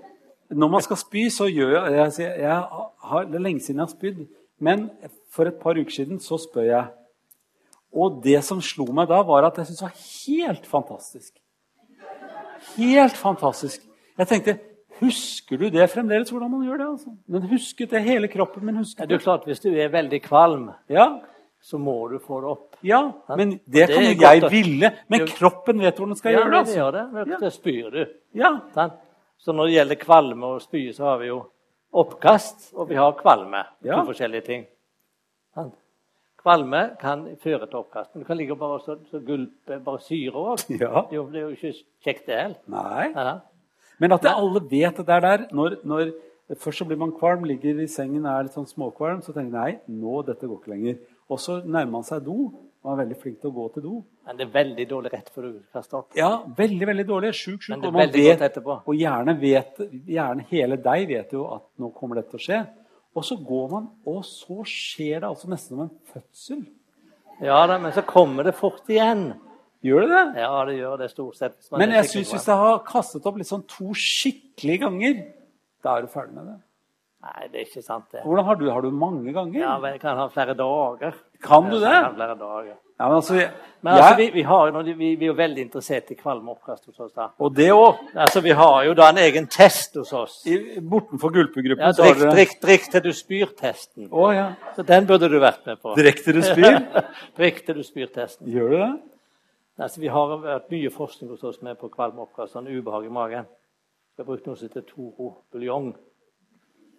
når man skal spy, så gjør jeg, jeg, sier- jeg har, Det er lenge siden jeg har spydd, men for et par uker siden så spør jeg. Og det som slo meg da, var at jeg syntes det var helt fantastisk. Helt fantastisk. Jeg tenkte Husker du det fremdeles, hvordan man gjør det? altså? Den husket det, hele kroppen min Ja, husket Det er jo klart, Hvis du er veldig kvalm, Ja, så må du få det opp. ja, men det Det kan er jo godt, jeg da. ville. Men kroppen vet hvordan den skal Ja, gjøre det. men det altså. gjør det. Men Ja. Det spyr du. Ja, Sant? Så når det gjelder kvalme og spy, så har vi jo oppkast, og vi har kvalme. Ja. To forskjellige ting. Sant? Kvalme kan føre til oppkast. Men du kan ligge og bare så, så gulpe bare syre òg. Ja. Det er jo- det er jo ikke kjekt, det heller. Nei. Ja, da. Men at det alle vet at det er der når, når Først så blir man kvalm, ligger i sengen er litt sånn småkvalm. Så tenker man nei, nå dette går ikke lenger. Og så nærmer man seg do. Man er veldig flink til å gå til do. Men det er veldig dårlig rett før du kaster opp. Ja, Veldig veldig dårlig. Sjuk, sjuk. Men det er og man veldig vet- godt etterpå. Og gjerne vet, gjerne hele deg vet jo at nå kommer dette til å skje. Og så går man, og så skjer det altså nesten som en fødsel. Ja da, men så kommer det fort igjen. Gjør det det? Ja, det gjør det stort sett. hvis man Men er jeg skikkelig syns kvalm. hvis jeg har kastet opp litt sånn to skikkelige ganger, da er du ferdig med det. Nei, det er ikke sant, det. Hvordan har du Har du mange ganger? Ja, men jeg kan ha flere dager. Kan du det? Ja, Jeg kan ha flere dager. Ja, men altså, jeg, Men altså, jeg, vi, vi, har, jo noe- vi, vi er jo veldig interessert i kvalme og oppkast hos oss. da. Og det òg. Altså, Vi har jo da en egen test hos oss. Bortenfor gulpegruppen Ja, så har drikk, dere drikk, drikk til du spyr-testen. Å ja. Så Den burde du vært med på. Drikk til du spyr. Drikk til du spyr-testen. Gjør du det? Altså, Vi har vært mye forskning hos oss med på kvalme og oppkast, sånn ubehag i magen. Vi har brukt noe som heter Toro buljong.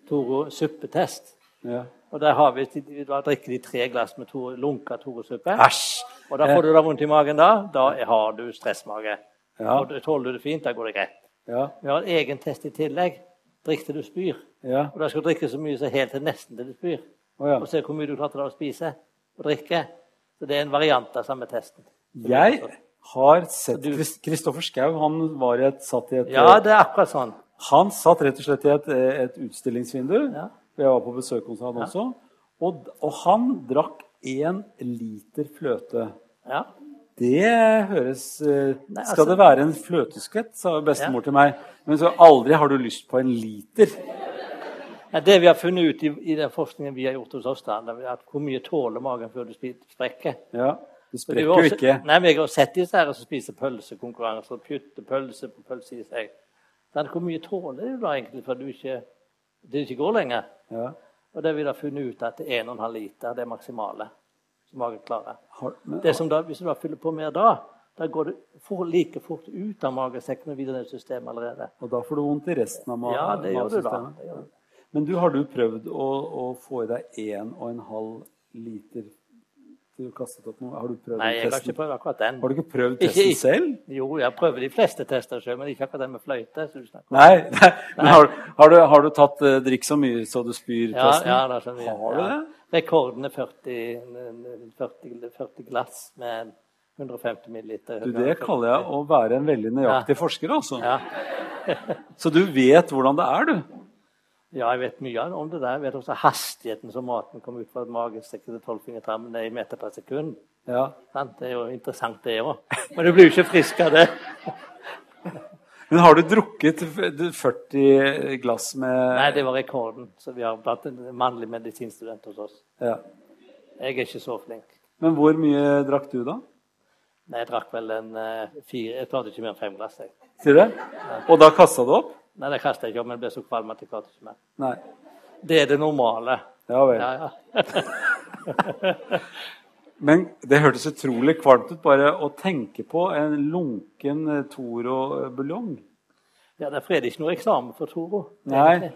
Toro suppetest. Ja. Og der har vi, da drikker de tre glass med Toro, lunka Toro-suppe. Æsj! Og da får du da vondt i magen da. Da har du stressmage. Ja. Og du- tåler du det fint, da går det greit. Ja. Vi har en egen test i tillegg. Drikk til du spyr. Ja. Og da skal du drikke så mye som helt til nesten til du spyr. Å, ja. Og se hvor mye du klarte da å spise og drikke. Så det er en variant av samme testen. Jeg har sett Du- Krist- Kristoffer Schau. Han var i et, satt i et Ja, det er akkurat sånn. Han satt rett og slett i et, et utstillingsvindu. Ja. Jeg var på besøk hos han også. Og, og han drakk én liter fløte. Ja. Det høres eh, Nei, altså- Skal det være en fløteskvett, sa bestemor til meg. Men så aldri har du lyst på en liter. Ja, Det vi har funnet ut i, i den forskningen vi har gjort hos oss, da, det er at hvor mye tåler magen før du spi- sprekker? Ja, Du For sprekker det er jo også- ikke. Nei, men jeg har sett disse her som spiser pølsekonkurranser og putter pølse på pølse i seg. Men hvor mye tåler du da egentlig før du ikke, det ikke går lenger? Ja. Og det har vi da funnet ut at 1,5 liter det er maksimale som magen klarer. Har, men, Det som da, hvis du da fyller på mer da, da går det for, like fort ut av magesekken og videre ned i systemet allerede. og da får du vondt i resten av ma- Ja, det gjør du da. matsystemet. Det gjør du. Men du, har du prøvd å, å få i deg 1,5 liter Du kastet opp noe. Har du prøvd Nei, jeg den har ikke testen? prøvd akkurat den. Har du ikke prøvd Ikke- testen ikke- selv? Jo, jeg prøver de fleste tester sjøl, men ikke akkurat den med fløyte. som du snakker om. Nei. nei. Men har, har, du, har du tatt eh, 'drikk så mye så du Ja, spyr'-testen? ja, det er så mye. har du ja. det? Rekorden er 40, 40, 40 glass med 150 milliliter. Du, det kaller jeg å være en veldig nøyaktig forsker, altså. Ja. Så du vet hvordan det er, du. ja, jeg vet mye om det der. Jeg vet også hastigheten som maten kom ut fra magesekken til tolvfingertarmen er i meter per sekund. Ja. Sant? Det er jo interessant, det òg. Men du blir jo ikke frisk av det. Men har du drukket f- du, 40 glass med Nei, det var rekorden. Så vi har blant en mannlig medisinstudent hos oss. ja. Jeg er ikke så flink. Men hvor mye drakk du, da? Nei, jeg drakk vel en eh, fire Jeg klarte ikke mer enn fem glass. Jeg. Sier du? Og da kasta du opp? Nei, det kastet jeg ikke opp, men jeg ble så kvalm at jeg klarte ikke mer. Nei. Det er det normale. Ja vel. Ja, ja. Men det hørtes utrolig kvalmt ut bare å tenke på en lunken eh, Toro-buljong. Ja, Derfor er det ikke noe eksamen for Toro. Nei.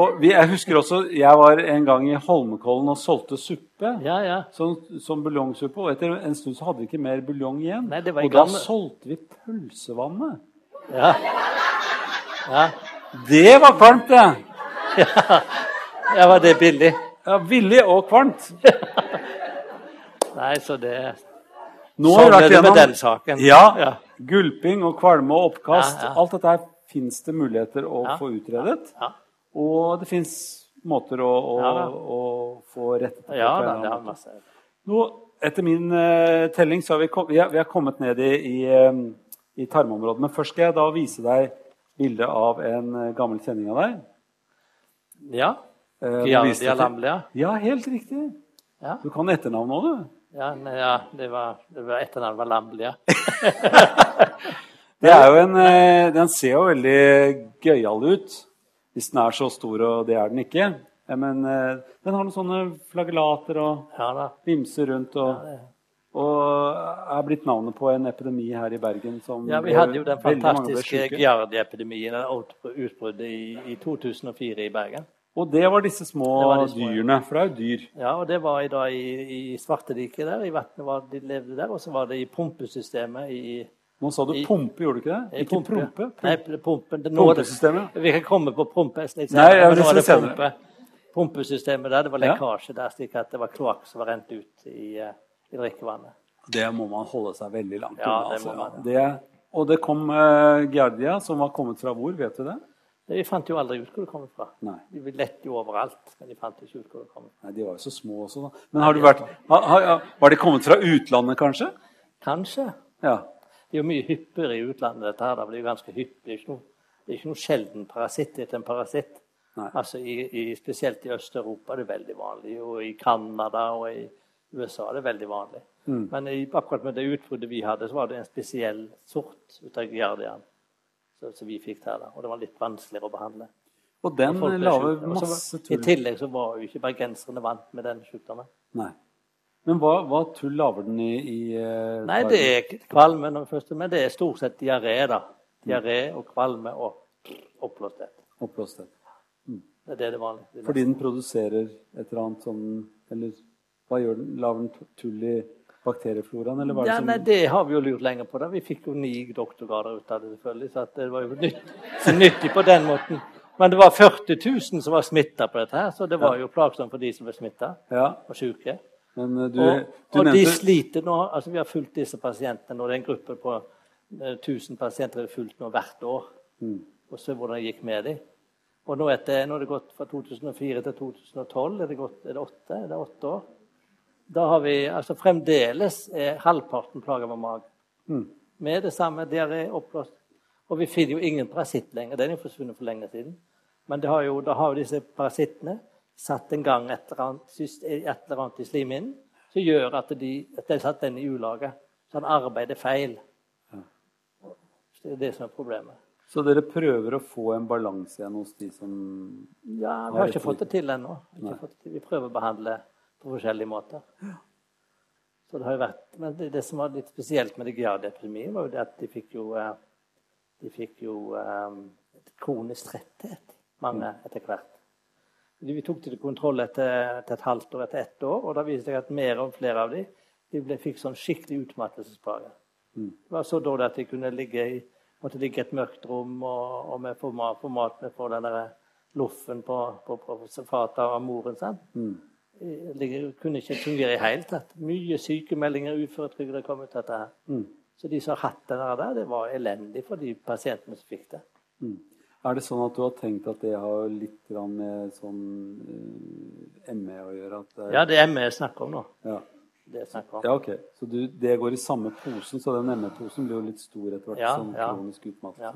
Og vi, jeg husker også jeg var en gang i Holmenkollen og solgte suppe. Ja, ja. som, som buljongsuppe. Og etter en stund så hadde vi ikke mer buljong igjen. Nei, det var i og da gamle- solgte vi pølsevannet. Ja. Ja. Det var kvalmt, det! ja, var det billig? Ja, Billig og kvalmt. Nei, så det Nå har vi vært Sånn er det med gjennom den saken. Ja, Ja. Gulping og kvalme og oppkast. Ja, ja. Alt dette her fins det muligheter å Ja. få utredet. Ja, Og det fins måter å, å, Ja, da. å få rettet opp ja på en eller da, det har annen måte. masse Nå, etter min eh, telling så har vi, kom, vi, har, vi har kommet ned i, i, eh, i tarmområdet. Men først skal jeg da vise deg bildet av en eh, gammel kjenning av deg. Ja. Eh, må vise det Giardia til- Lamblia. Ja, helt riktig. Ja. Du kan etternavnet òg, du. Ja, nei, ja, det var, det var etternavnet var Lamblia. Det er jo en, eh, den ser jo veldig gøyal ut, hvis den er så stor, og det er den ikke. Eh, Men eh, den har noen sånne flagellater og Ja da. vimser rundt, og, og eh, er blitt navnet på en epidemi her i Bergen som Ja, vi ble- hadde jo den veldig mange ble fantastiske syke. Giardia-epidemien, eller utbr- utbruddet i, i 2004 i Bergen. Og det var disse små Det var de små, ja. dyrene, for det er jo dyr. Ja, og det var i, da, i, i Svartediket der, i vannet var de levde der, og så var det i pumpesystemet i Nå sa du I- pumpe, gjorde du ikke det? i Ikke prompe? Nei, pumpen. Det- nå er det- Pumpesystemet? Vi kan komme på pumpe litt senere. Nei, ja, men det nå er det skal vi se. pumpe, pumpesystemet der. Det var Ja. lekkasje der, slik at det var kloakk som var rent ut i, eh, i drikkevannet. Det må man holde seg veldig langt unna. Ja, det må altså. man, det, og det kom eh, Giardia, som var kommet fra hvor, vet du det? Det- Vi fant jo aldri ut hvor det kom fra. Nei. Vi lette jo overalt, men vi fant ikke ut hvor det kom fra. Nei, de var jo så små også, da. Men har du vært har, har, Var de kommet fra utlandet, kanskje? Kanskje. Ja. Det er jo mye hyppigere i utlandet, dette her. da. Det er jo ganske hyppig. Det er ikke noe, det er ikke noe sjelden parasitt etter en parasitt. Nei. Altså, i, i, spesielt i Øst-Europa er det veldig vanlig, og i Canada og i USA er det veldig vanlig. Mm. Men i, akkurat med det utbruddet vi hadde, så var det en spesiell sort ut av giardian som som vi fikk der. da. Og det var litt vanskeligere å behandle. Og den Folk ble lager syke. Og så var- masse I tull. tillegg så var jo ikke bergenserne vant med den sykdommen. Nei. Men hva, hva tull lager den i, i eh, Nei, det er ikke kvalme, når vi først- men det er stort sett diaré. da. Diaré og kvalme og oppblåsthet. oppblåsthet? Det er det det vanlige. Det er Fordi den produserer et eller annet sånn Eller hva gjør den? Lager den tull i bakteriefloraen, eller hva nesten- er ja, det som nei, det har vi jo lurt lenge på. da. Vi fikk jo ni doktorgrader ut av det, selvfølgelig. Så at det var jo nytt, så nyttig på den måten. Men det var 40 000 som var smitta på dette, her, så det var jo plagsomt for de som ble smitta Ja. og syke. Men eh, du, Og, du og de nevnte sliter nå. altså Vi har fulgt disse pasientene, og det er en gruppe på eh, 1000 pasienter vi har fulgt nå hvert år. Mm. Og se hvordan det gikk med dem. Og nå, etter, nå er det gått fra 2004 til 2012. Er det, gått, er det åtte? Er det åtte år? Da har vi altså Fremdeles er halvparten plaga med magen. Med det samme diaré, oppblåst. Og vi finner jo ingen parasitt lenger. Den er jo forsvunnet for lenge siden. Men det har jo, da har jo disse parasittene satt en gang et eller annet, syst- et eller annet i slimhinnen som gjør at de, at de satt den i ulaget. Så han arbeider feil. Så Det er det som er problemet. Så dere prøver å få en balanse igjen hos de som Ja, Vi Har har ikke ikke fått det til ennå. Vi har ikke fått det til. Vi prøver å behandle på forskjellige måter. Så det har jo vært, men det, det som var litt spesielt med det GAD-epidemien, var jo det at de fikk jo, eh, de fikk jo eh, et kronisk tretthet, mange etter hvert. De- Vi tok til kontroll etter, etter et halvt år, etter ett år, og da viste det seg at mer og flere av de, de ble, fikk sånn skikkelig utmattelsesplager. Det var så dårlig at de kunne ligge i måtte ligge i et mørkt rom, og, og vi får mat, får mat vi får den der loffen på, på, på fatet av moren sin. Eh, Ligge, kunne ikke fungere i det hele tatt. Mye sykemeldinger, uføretrygdede kom ut av dette. her. Så de som har hatt den der, det var elendig for de pasientene som fikk det. Er det sånn at du har tenkt at det har litt grann med sånn eh, ME å gjøre? At, det- Ja, det er vi snakker om nå. ja. Det snakker om. Ja, ok. Så du, det går i samme posen, så den ME-posen blir jo litt stor etter hvert Ja, som ja. kronisk utmattelse. Ja.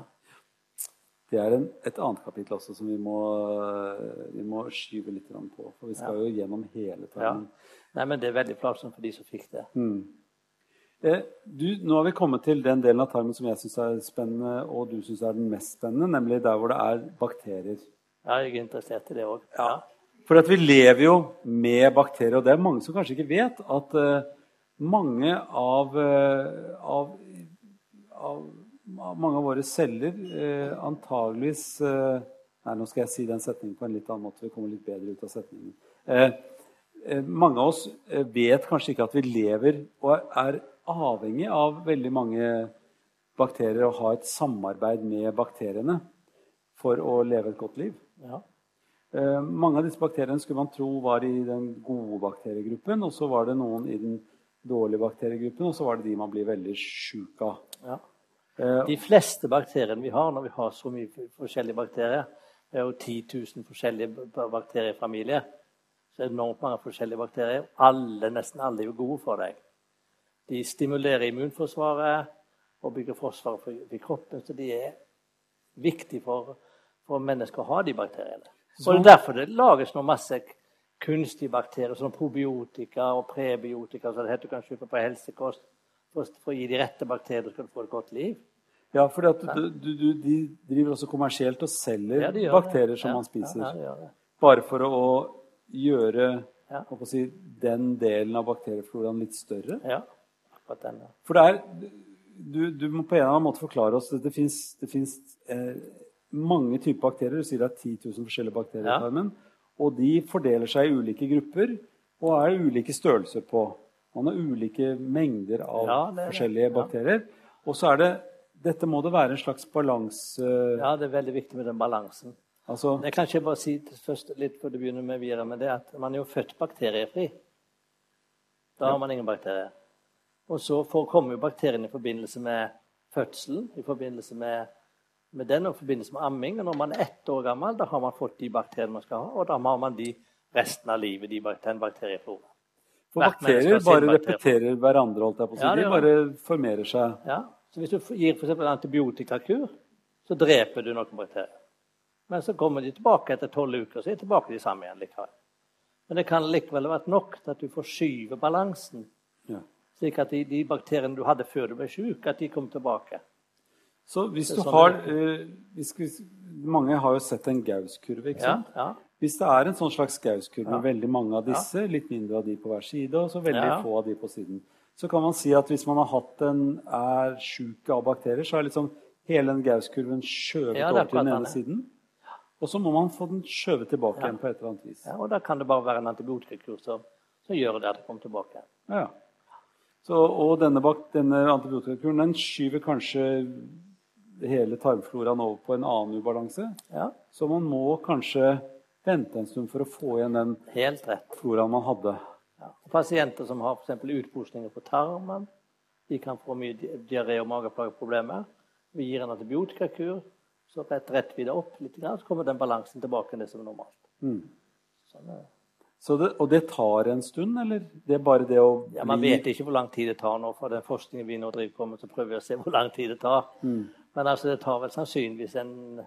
Det er en, et annet kapittel også som vi må, vi må skyve litt grann på. For vi skal jo gjennom hele Ja. tarmen. Nei, men det er veldig plagsomt for de som fikk det. Eh, du, nå har vi kommet til den delen av tarmen som jeg syns er spennende, og du syns er den mest spennende, nemlig der hvor det er bakterier. Ja, jeg er interessert i det òg. Ja. For at vi lever jo med bakterier, og det er mange som kanskje ikke vet at eh, mange av, eh, av, av av mange av våre celler eh, antageligvis eh, Nei, nå skal jeg si den setningen på en litt annen måte. Vi kommer litt bedre ut av setningen. Eh, eh, mange av oss eh, vet kanskje ikke at vi lever og er avhengig av veldig mange bakterier og ha et samarbeid med bakteriene for å leve et godt liv. Ja. Eh, mange av disse bakteriene skulle man tro var i den gode bakteriegruppen, og så var det noen i den dårlige bakteriegruppen, og så var det de man blir veldig sjuk av. Ja. Eh, De fleste bakteriene vi har, når vi har så mye f- forskjellige bakterier Det er jo 10 000 forskjellige b- b- bakteriefamilier. Så enormt mange forskjellige bakterier. Alle, nesten alle er jo gode for deg. De stimulerer immunforsvaret og bygger forsvaret for, for kroppen. Så de er viktige for, for mennesker å ha de bakteriene. Og det er derfor det lages nå masse k- kunstige bakterier, som probiotika og prebiotika, som det heter du kan kjøpe på helsekost. For, for å gi de rette bakteriene skal du få et godt liv. ja, for du, du, du, de driver også kommersielt og selger Ja, de gjør det. bakterier som Ja, man spiser. Ja, ja, de gjør det. Bare for å gjøre Ja. hva skal jeg si, den delen av bakteriefloraen litt større. ja. akkurat den. ja. For det er du, du må på en eller annen måte forklare oss. Det, det fins eh, mange typer bakterier. Du sier det er 10 000 forskjellige bakterier i Ja. tarmen. Og de fordeler seg i ulike grupper og er ulike størrelser på. Man har ulike mengder av Ja, det er det. forskjellige Ja. bakterier. Og så er det Dette må det være en slags balanse ja, det er veldig viktig med den balansen. Altså Jeg kan ikke bare si til først litt før du begynner med videre med det, at man er jo født bakteriefri. Da har man ingen bakterier. Og så får, kommer jo bakteriene i forbindelse med fødselen, i forbindelse med, med den, og i forbindelse med amming. Og når man er ett år gammel, da har man fått de bakteriene man skal ha, og da har man de resten av livet, de, bak- den bakteriefloraen. For hvert menneske bakterier har sin bare bakterie. repeterer hverandre, holdt jeg på å si. Ja, det de gjør bare formerer seg. Ja. Så hvis du f- gir f.eks. en antibiotikakur, så dreper du noen bakterier. Men så kommer de tilbake etter tolv uker, så er de tilbake de samme igjen. likevel. Men det kan likevel ha vært nok til at du forskyver balansen, Ja. slik at de, de bakteriene du hadde før du ble syk, at de kom tilbake. Så hvis Det du er sånn har det eh, hvis, hvis, Mange har jo sett en Gaus-kurve, ikke Ja, sant? ja, Hvis det er en sånn slags gauskurve, Ja. veldig mange av disse, litt mindre av de på hver side, og så veldig Ja. få av de på siden, så kan man si at hvis man har hatt en er sjuk av bakterier, så er liksom hele den gauskurven skjøvet Ja, over det er til den akkurat ene det. siden. Og så må man få den skjøvet tilbake igjen på et eller annet vis. ja. Og da kan det bare være en antibiotikakur som, som gjør det at det kommer tilbake. Ja. ja. Så, og denne, bak, denne antibiotikakuren den skyver kanskje hele tarmfloraen over på en annen ubalanse. Ja, Så man må kanskje vente en stund for å få igjen den Helt rett. floraen man hadde. Ja. Og Pasienter som har f.eks. utposninger på tarmen, de kan få mye di- diaré og mageplageproblemer. Vi gir en antibiotikakur, så rett, rett vi det opp litt, grann, så kommer den balansen tilbake til det som er normalt. Sånn er det. Så det, og det tar en stund, eller? Det er bare det å Ja, man vet ikke hvor lang tid det tar nå, for den forskningen vi nå driver på med, så prøver vi å se hvor lang tid det tar. Men altså, det tar vel sannsynligvis en,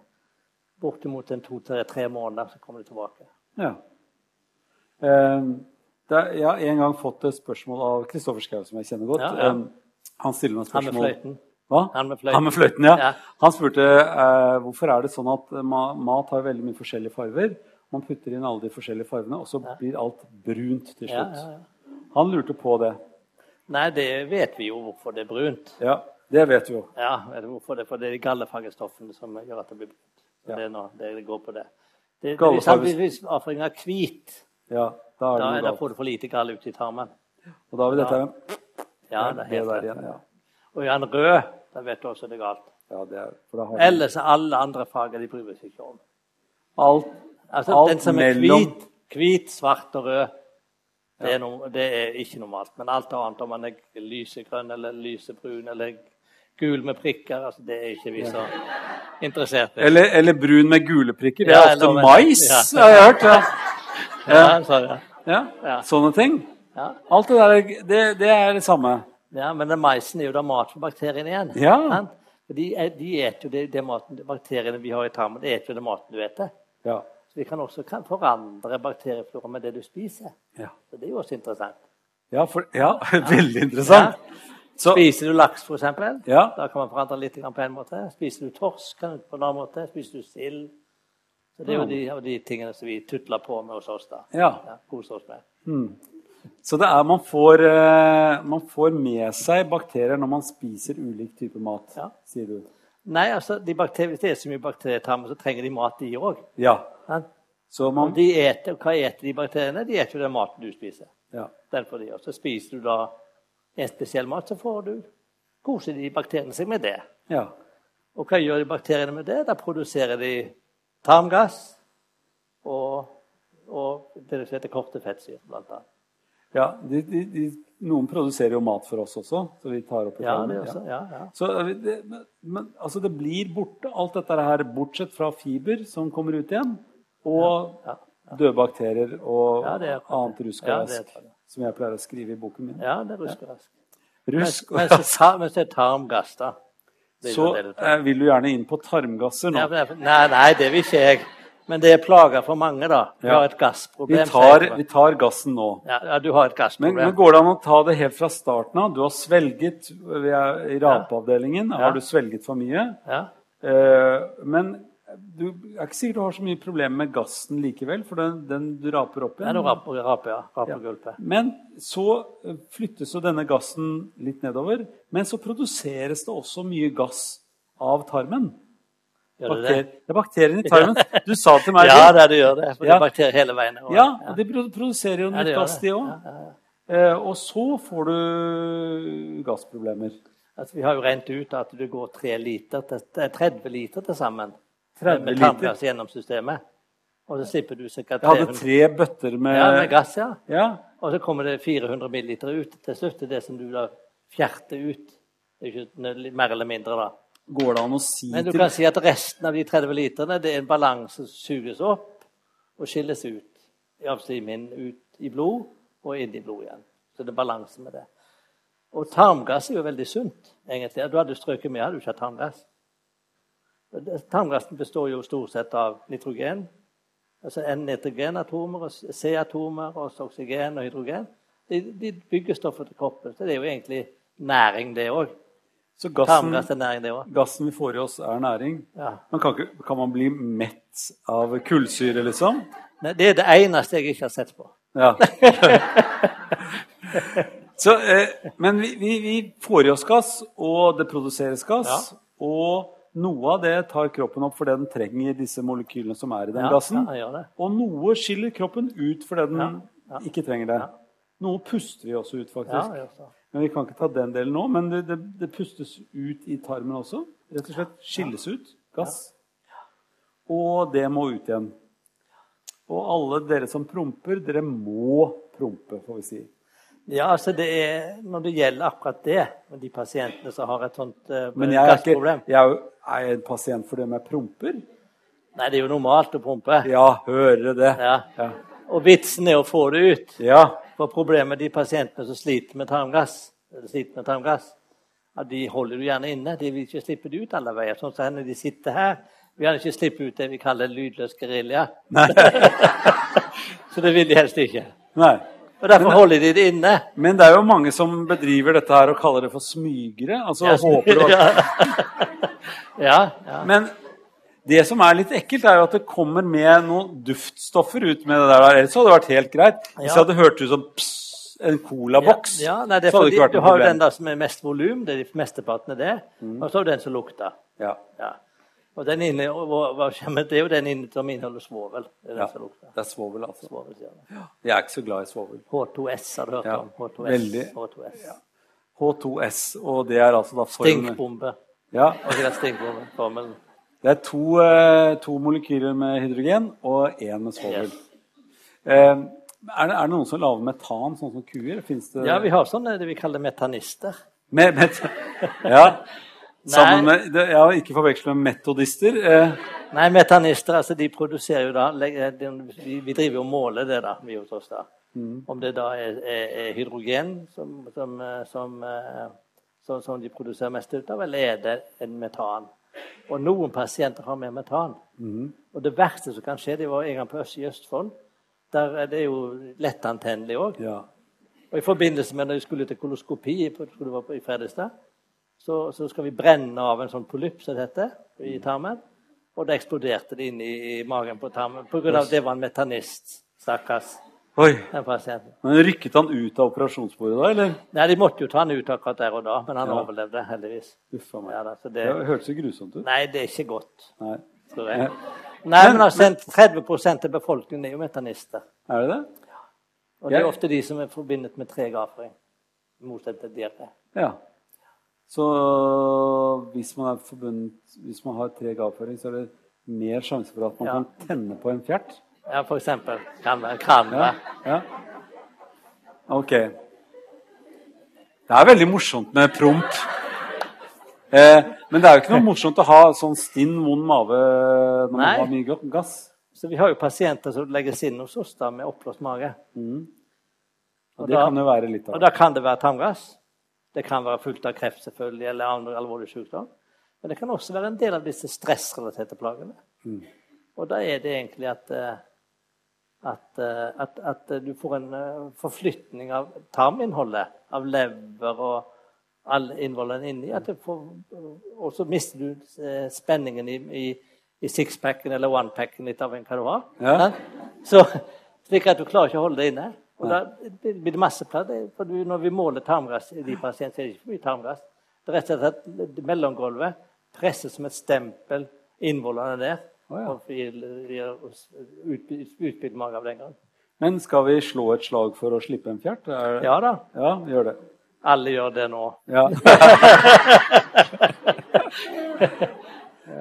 bortimot en to-tre måneder, så kommer det tilbake. Ja. Eh, det er, jeg har en gang fått et spørsmål av Kristoffer Schau, som jeg kjenner godt. Ja, ja. Eh, han stiller meg et Han med spørsmål fløyten. Hva? Han med fløyten. Han med fløyten, ja. Ja. Han spurte eh, hvorfor er det sånn at ma mat har veldig mye forskjellige farger. Man putter inn alle de forskjellige fargene, og så blir alt brunt til Ja, slutt. ja, ja. Han lurte på det. Nei, det vet vi jo hvorfor det er brunt. Ja, det vet vi jo. Ja, vet du hvorfor det? For det er de gallefargestoffene som gjør at det blir brunt. Så Ja. Det er nå det det går på det. det, det hvis Gallefarges- hvis avføringen er hvit, Ja, da er da, det er det, noe galt. får du for lite galle ut i tarmen. Og da har vi dette Ja. med Ja, det, det er helt der rett. igjen. Ja. Og er den rød, da vet du også det er galt. ja, det er, for da har vi- Ellers er alle andre farger de bryr seg ikke om. alt, Altså, alt den som er mellom hvit, hvit, svart og rød, det er, no, det er ikke normalt. Men alt annet, om man er lysegrønn eller lysebrun eller gul med prikker, altså, det er ikke vi så interessert i. Eller, eller brun med gule prikker. Det er Ja, ofte eller- mais, ja. har jeg hørt. Ja. Ja, så, ja. Ja. Ja. Sånne ting. Ja. Alt det der det, det er det samme. Ja, men den maisen er jo da mat for bakteriene igjen. Ja. sant? For De, er- de et jo det, det maten, bakteriene vi har i tarmen, det et jo den maten du eter. Ja. Så vi kan også kan forandre bakteriefloraen med det du spiser. Ja, Så det er jo også interessant. ja, for, ja veldig interessant. Så, Spiser du laks, for eksempel, Ja. da kan man forandre litt grann på en måte. Spiser du torsk kan du på en annen måte. Spiser du sild. Så Det er jo de, av de tingene som vi tutler på med hos oss. da. Ja. koser oss med. så det er man får, eh, man får med seg bakterier når man spiser ulik type mat, Ja. sier du. Nei, altså, de bakterier, Hvis det er så mye bakterier i tarmen, så trenger de mat, de òg. Ja. Så Og man de eter, hva eter de bakteriene? De eter jo den maten du spiser. ja. Den får de også. Spiser du da en spesiell mat, så får du koser de bakteriene seg med det. Ja. Og hva gjør de bakteriene med det? Da produserer de tarmgass og, og det som heter korte fettsyrer, blant annet. ja de, de, de, noen produserer jo mat for oss også, så vi tar opp i Ja, tarmen, det ja. også. Ja, ja. Så eh, det, men, men, altså det blir borte, alt dette her, bortsett fra fiber som kommer ut igjen, og Ja, døde bakterier og Ja, det er akkurat annet det. rusk Ja, og det er rask, akkurat det. som jeg pleier å skrive i boken min. ja det rusker rask. Mens, Rusk og mens, det rask. tar, mens det er tarmgass, da. Det er Så jo det det tar. eh, vil du gjerne inn på tarmgasser nå. Ja, men- Nei, nei, det vil ikke jeg. Men det er plager for mange, da. Du Ja. har et Vi gassproblem. tar, sier vi jeg. tar gassen nå. ja, ja, du har et Men, gassproblem. men går det an å ta det helt fra starten av? Du har svelget vi er i rapeavdelingen. Har du svelget for mye? ja. Eh, men du er ikke sikkert du har så mye problemer med gassen likevel, for den, den du raper opp Nei, igjen. du raper, raper, ja. Rapegulpet. Men så eh, flyttes jo denne gassen litt nedover. Men så produseres det også mye gass av tarmen. Gjør du det? Bakter, det er bakteriene i tarmen. Du sa til meg Ja, det, du gjør det. For det Ja. er bakterier hele veien. Og- Ja, og de produ- produserer jo Ja, nytt det gjør gass, de det. òg. Ja, ja, ja. Og så får du gassproblemer. Altså, vi har jo regnet ut at det går tre liter til, eh, 30 liter til sammen. 30 med liter. tarmgass gjennom systemet. Og så slipper du ca. Jeg hadde 300 tre bøtter med, ja, med gass. ja. Ja, Og så kommer det 400 milliliter ut til slutt. Det er det som du da fjerter ut. Det er ikke nødvendig- mer eller mindre, da. Går det an å si Men du til kan si at resten av de 30 literne det er en balanse som suges opp og skilles ut. Altså i min ut i blod og inn i blod igjen. Så det er balanse med det. Og tarmgass er jo veldig sunt, egentlig. Du hadde strøket med, hadde du ikke hatt tarmgass. Det- Tarmgassen består jo stort sett av nitrogen. Altså N-nitrogenatomer, og C-atomer, og så oksygen og hydrogen. De, de bygger stoffet til kroppen. Så det er jo egentlig næring, det òg. Så gassen, Tarmgass er næring, det òg. gassen vi får i oss, er næring? Ja. Man kan, ikke, kan man bli mett av kullsyre, liksom? Nei, det er det eneste jeg ikke har sett på. Ja. Så, eh, men vi, vi, vi får i oss gass, og det produseres gass. Og noe av det tar kroppen opp fordi den trenger disse molekylene som er i den Ja, gassen. ja, den gjør det. Og noe skiller kroppen ut fordi den Ja, ja. ikke trenger det. Noe puster vi også ut, Ja, faktisk. jeg gjør det. Men vi kan ikke ta den delen nå. Men det, det, det pustes ut i tarmen også. Rett og slett skilles ut. Gass. Og det må ut igjen. Og alle dere som promper, dere må prompe, får vi si. ja, altså det er, når det gjelder akkurat det, med de pasientene som har et sånt eh, Men jeg er, ikke, gassproblem jeg er, jo- er jeg en pasient for det med promper. Nei, det er jo normalt å pumpe. Ja, hører det. Ja. Ja. Og vitsen er å få det ut. ja. For problemet med de pasientene som sliter med tarmgass, eller sliter med tarmgass at de holder du gjerne inne. De vil ikke slippe det ut alle veier. Sånn som når de sitter her. Vi kan ikke slippe ut det vi kaller lydløs gerilja. Så det vil de helst ikke. Nei. Og Derfor holder de det inne. Men det er jo mange som bedriver dette her og kaller det for smygere. altså håper det var... ja, ja. Men det som er litt ekkelt, er jo at det kommer med noen duftstoffer ut med det der. Ellers hadde det vært helt greit. Hvis det Ja. hadde hørt ut som pss, en colaboks, Ja, ja, nei, det er så hadde det fordi ikke vært Du noe har jo problem. Mm. den der som er mest volum, det er de mesteparten er det. Og så har du den som lukter. Ja. Ja. Og den inne, og hva- hva skjer med- det er jo den inne som inneholder svovel. Det er den Ja. som lukter. Det er svovel, altså. Svovel, sier det. Jeg er ikke så glad i svovel. H2S har du hørt Ja, om. H2S. veldig. H2S. H2S, og det er altså da formen- Stinkbombe. Ja, Var ikke det stinkbombeformelen? Det er to, eh, to molekyler med hydrogen og én med svovel. Yes. Eh, er, det, er det noen som lager metan, sånn som kuer? Fins det Ja, vi har sånne det vi kaller metanister. Med, med, ja. Sammen Nei. med, det, ja, ikke forveksle med metodister. Eh, Nei, metanister altså, de produserer jo da legger- den- Vi vi driver jo og måler det, da. vi hos oss da. Om det da er, er, er hydrogen som, som, eh, som, eh, som, som de produserer mest ut av, eller er det en metan? Og noen pasienter har mer metan. Og det verste som kan skje, det var en gang på Øst i Østfold. Der er det jo lettantennelig òg. ja. Og I forbindelse med når vi skulle til koloskopi på- jeg tror det var på- i Fredrikstad, så, så skal vi brenne av en sånn polypp som det heter, i tarmen. Og da eksploderte det inn i, i magen på tarmen pga. det var en metanist. Stakkars. Oi. den pasienten. Men rykket han ut av operasjonsbordet da, eller? Nei, De måtte jo ta han ut akkurat der og da, men han Ja. overlevde heldigvis. Uff a meg. Ja, da, så det... det, hørtes jo grusomt ut. nei, det er ikke godt, Nei. tror jeg. Ja. Nei, Men- men altså, 30 av befolkningen er jo metanister. Er det det? Og det er Jeg- ofte de som er forbindet med treg avføring. i Motsatt til diaré. Ja. Så hvis man, er forbundet, hvis man har treg avføring, så er det mer sjanse for at man Ja. kan tenne på en fjert? Ja, for eksempel. Kan være kranve. Ja. ja. Ok. Det er veldig morsomt med promp. Eh, men det er jo ikke noe morsomt å ha sånn stinn, vond mave når man Nei. har mye ga- gass. Så vi har jo pasienter som legges inn hos oss da med oppblåst mage. Og Og det da- kan jo være litt Og av da kan det være tarmgass. Det kan være fullt av kreft selvfølgelig, eller andre alvorlige sykdom. Men det kan også være en del av disse stressrelaterte plagene. Og da er det egentlig at, eh, at, eh, at, at eh, du får en eh, forflytning av tarminnholdet, av lever og alle innvollene inni. At du får, og så mister du eh, spenningen i, i, i sixpacken eller onepacken, litt avhengig av hva du har. Ja. Sant? Så, slik at du klarer ikke å holde det inne. Og da blir det masse pladd. For du, når vi måler tarmgass i de pasientene, så er det ikke for mye tarmgass. Det er rett og slett at mellomgulvet presses som et stempel innvollene der. Å, ja. Og gir, gir oss utby- utbydd mage av den grunn. Men skal vi slå et slag for å slippe en fjert? Er... Ja da, ja, vi gjør det. alle gjør det nå. Ja.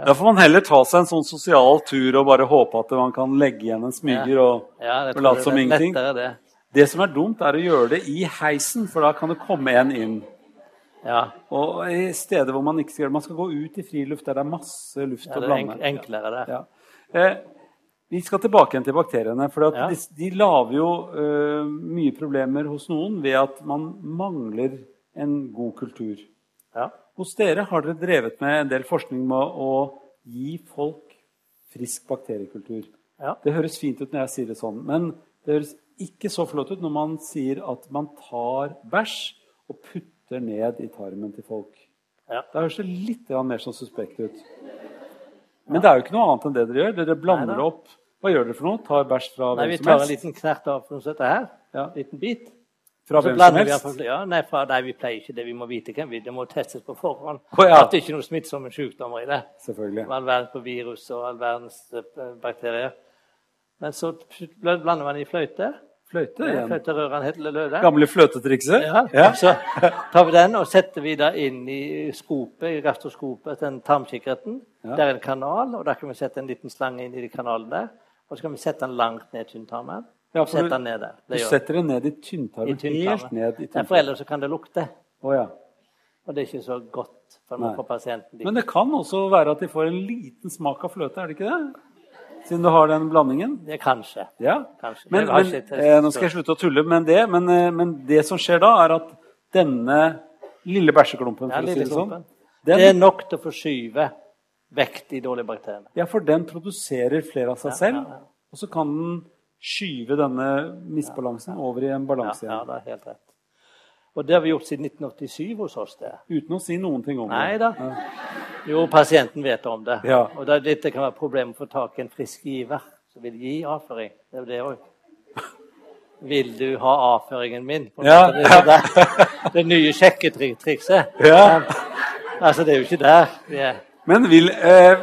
Da får man heller ta seg en sånn sosial tur og bare håpe at man kan legge igjen en smyger og Ja, jeg og tror late det som er ingenting. Lettere det. Det som er dumt, er å gjøre det i heisen, for da kan det komme en inn. Ja, Og i steder hvor man ikke skal gjøre det. Man skal gå ut i friluft der det er masse luft ja å det er blande. enk enklere det. Ja. Eh, vi skal tilbake igjen til bakteriene. For at Ja. de, de lager jo eh, mye problemer hos noen ved at man mangler en god kultur. Ja. Hos dere har dere drevet med en del forskning med å gi folk frisk bakteriekultur. Ja. Det høres fint ut når jeg sier det sånn, men det høres ikke så flott ut når man sier at man tar bæsj og putter ned i tarmen til folk. Ja. Da høres det litt grann mer sånn suspekt ut. Men det er jo ikke noe annet enn det dere gjør. Dere blander Nei det da. opp. Hva gjør dere for noe? Tar bæsj fra Nei, hvem vi som tar en helst? liten knert av noe sånt her. Ja. Liten bit. Fra Så hvem som blander vi helst? iallfall ja, nei, fra, nei, vi pleier ikke det. Vi må vite hvem vi Det må testes på forhånd. Å, ja. At det ikke er noen smittsomme sykdommer i det. Selvfølgelig. Med all verdens på virus og all verdens eh, bakterier. Men så blander man i fløyte. Fløyte igjen. Fløyterøren heter løde. Gamle fløtetrikset? Ja. Ja. Så tar vi den og setter vi da inn i skopet, i gastroskopet, den tarmkikkerten. Ja. Det er en kanal, og da kan vi sette en liten slange inn i de kanalene der. Og så kan vi sette den langt ned i tynntarmen. Ja, for sette du- den ned der. Du Det gjør vi. setter det ned i I tynntarmen. tynntarmen. Helt ned i Nei, for tynntarmen. ellers så kan det lukte. Å, ja. Og det er ikke så godt for, Nei. for pasienten. Men det kan også være at de får en liten smak av fløte, er det ikke det? Siden du har den blandingen. det er kanskje. Ja. Kanskje. Men, Jeg men, har ikke testet eh, nå skal jeg slutte å tulle med det, men, eh, men det som skjer da, er at denne lille bæsjeklumpen, Ja, for å si lille det sånn, klumpen. Det er den, nok til å forskyve vekk de dårlige bakteriene. ja, for den produserer flere av seg ja, selv, og så kan den skyve denne misbalansen over i en Ja, balanse ja, igjen. det er helt rett. Og det har vi gjort siden 1987 hos oss. det. Uten å si noen ting om Nei det. da. Jo, pasienten vet om det. Ja. Og det, er litt det kan være problemet å få tak i en frisk giver som vil gi avføring. Det er jo det òg. Vil du ha avføringen min? På en Ja. måte, Det, er jo det, det nye sjekketrikset. Ja. Altså, det er jo ikke der vi er. Men vil eh,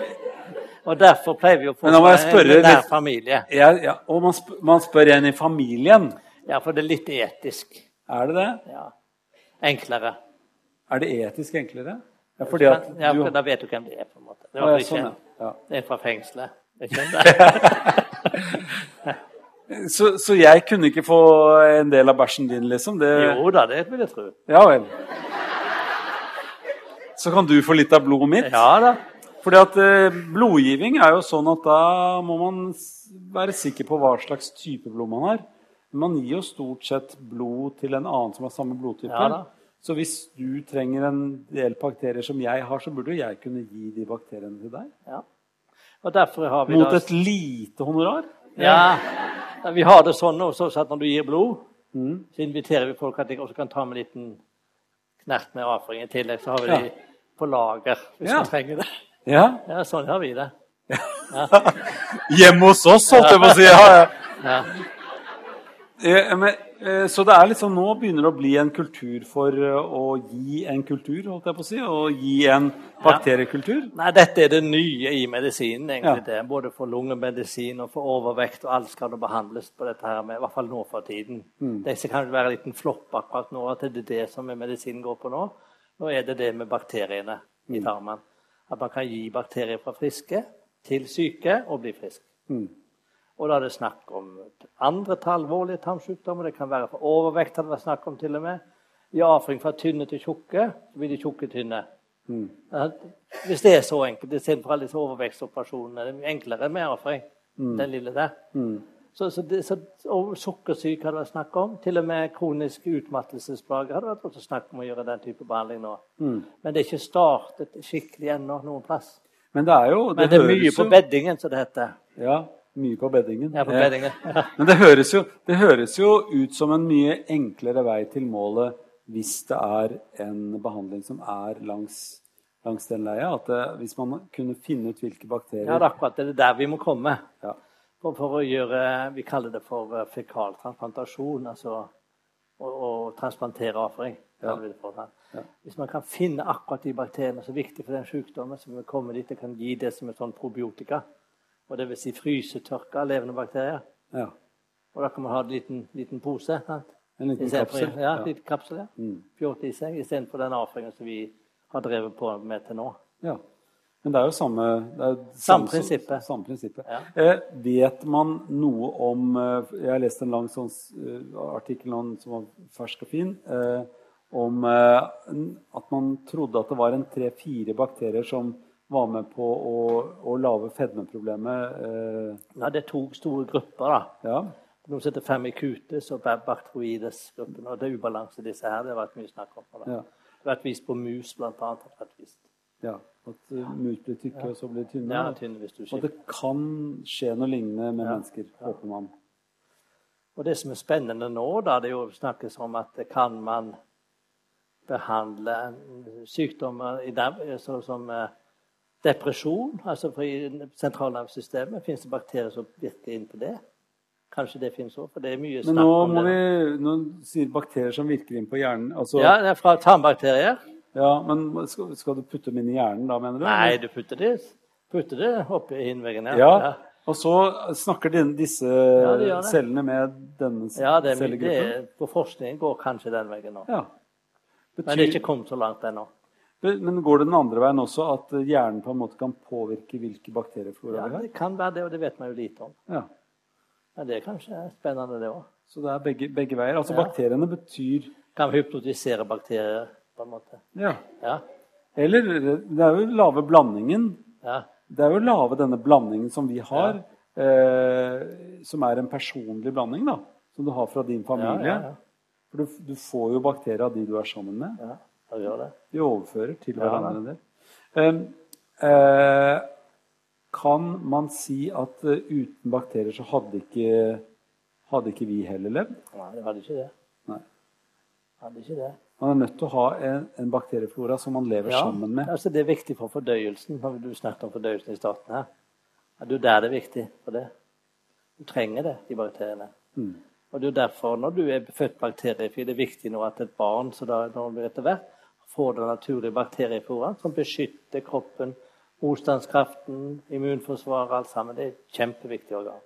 Og derfor pleier vi å få Men da må jeg spørre en nær litt- familie. jeg, ja, Og man, sp man spør en i familien. Ja, for det er litt etisk. Er det det? Ja. Enklere. Er det etisk enklere? Ja, fordi at ja, du for Da vet du hvem det er, på en måte. Det Å, var ja, ikke sånn, ja. Det er fra fengselet. Det er ikke det. Så, så jeg kunne ikke få en del av bæsjen din, liksom? Det... Jo da, det vil jeg tro. Ja vel. Så kan du få litt av blodet mitt. Ja da. Fordi at eh, blodgivning er jo sånn at da må man s- være sikker på hva slags type blod man har. Men man gir jo stort sett blod til en annen som har samme blodtype. Ja da. så hvis du trenger en del bakterier som jeg har, så burde jo jeg kunne gi de bakteriene til deg. Ja. Og derfor har vi Mot da et lite honorar. Ja. Vi har det sånn hos oss at når du gir blod, Mm. så inviterer vi folk at de også kan ta med en liten knert med avføring. I tillegg så har vi Ja. de på lager hvis Ja. man trenger det. Ja. Ja, sånn har vi det. Hjemme hos oss, holdt jeg på å si. Ja, ja. Ja. Eh, men, eh, så det er liksom nå begynner det å bli en kultur for eh, å gi en kultur, holdt jeg på å si. Å gi en bakteriekultur. Nei, dette er det nye i medisinen, egentlig. Ja. det. Både for lungemedisin og for overvekt, og alt skal nå behandles på dette her med, i hvert fall nå for tiden. Det kan jo være en liten flopp akkurat nå, at det er det som er medisinen går på nå. Nå er det det med bakteriene i tarmen. At man kan gi bakterier fra friske til syke og bli frisk. Og da er det snakk om andre til alvorlige tarmsykdommer. Det kan være for overvekt. har det vært snakk om til og med. I avføring fra tynne til tjukke så blir de tjukke tynne. Mm. Ja, Hvis det er så enkelt, istedenfor alle disse overvekstoperasjonene. Det er enklere med avføring. Mm. Den lille der. Så, så, det, så og sukkersyke har det vært snakk om. Til og med kroniske utmattelsesplager har det vært også snakk om å gjøre den type behandling nå. Mm. Men det er ikke startet skikkelig ennå noen plass. Men det er jo Men det er høres mye på jo- beddingen, som det heter. Ja, mye på beddingen. Ja, på Eh, beddingen. Ja. Men det høres, jo, det høres jo ut som en mye enklere vei til målet hvis det er en behandling som er langs, langs den leia. At det, hvis man kunne finne ut hvilke bakterier Ja, det er akkurat det. Det er der vi må komme. Ja. For, for å gjøre Vi kaller det for eh, fekaltransplantasjon. Altså å, å transplantere avføring. kaller vi det for, sant? Hvis man kan finne akkurat de bakteriene som er viktige for den sykdommen, så vil vi komme dit og kan gi det som en sånn probiotika. Og det vil si frysetørka levende bakterier. Ja, Og da kan man ha en liten, liten pose. sant? En liten Istedenfor- kapsel, Ja, ja. Mm. en liten kapsel, ja. Fjorte i seg istedenfor den avføringen som vi har drevet på med til nå. ja. Men det er jo samme det er jo Samme som- prinsippet. Samme prinsippet. Ja. Eh, vet man noe om eh, Jeg har lest en lang sånn, s- eh, artikkel nå som var fersk og fin. Eh, om eh, n- at man trodde at det var en tre-fire bakterier som var med på å, å lage fedmeproblemet. Eh, Ja, det er to store grupper, da. ja. Noen som heter Femicutes og Bacteroides-gruppen. Og det er ubalanse i disse her. Det har vært mye snakk om. Det Ja. Det har vært vist på mus, blant annet. har det vært vist. ja. At eh, mus blir tykke, og så blir de tynne. Det er tynn hvis og du at skifter. det kan skje noe lignende med mennesker, håper man. Og det som er spennende nå, da, det er jo snakkes om at eh, kan man behandle sykdommer i der, sånn som eh, depresjon, altså for i sentralnervesystemet, fins det bakterier som virker inn på det? Kanskje det finnes òg, for det er mye Men snakk nå, om må det. vi, nå sier bakterier som virker inn på hjernen. Altså, Ja, det er fra tarmbakterier. Ja, men skal, skal du putte dem inn i hjernen da, mener du? Nei, du putter det, putter det oppi innveggen. Ja. Og så snakker din, disse det gjør det. cellene med denne s- Ja, det, er mye- det, cellegruppen? er- på forskningen går kanskje den veien nå. Ja. Men det er Betyr, ikke kommet så langt ennå. men, går det den andre veien også, at hjernen på en måte kan påvirke hvilke bakterieflora Ja, vi har? det kan være det, og det vet man jo lite om. Ja. Men det er kanskje spennende, det òg. Så det er begge, begge veier. Altså Ja. bakteriene betyr Kan hypnotisere bakterier, på en måte. Ja. Ja. Eller det er jo lave blandingen. ja. Det er jo lave denne blandingen som vi har, eh, som er en personlig blanding, da. Som du har fra din familie. Ja, ja, ja. For du, du får jo bakterier av de du er sammen med. ja. Da gjør det. Vi overfører til Ja, hverandre en del. Um, eh, kan man si at eh, uten bakterier så hadde ikke, hadde ikke vi heller levd? Nei, det hadde ikke det. Nei. Hadde ikke det. Man er nødt til å ha en, en bakterieflora som man lever Ja, sammen med. altså Det er viktig for fordøyelsen. når Du snakket om fordøyelsen i starten her. Ja, Det er jo der det er viktig for det. Du trenger det, de bakteriene. Og det er jo derfor, når du er født bakteriefri, det er viktig nå at et barn så da, når det blir etter hvert, får den naturlige bakteriefloraen som beskytter kroppen, motstandskraften, immunforsvaret, alt sammen. Det er et kjempeviktig organ.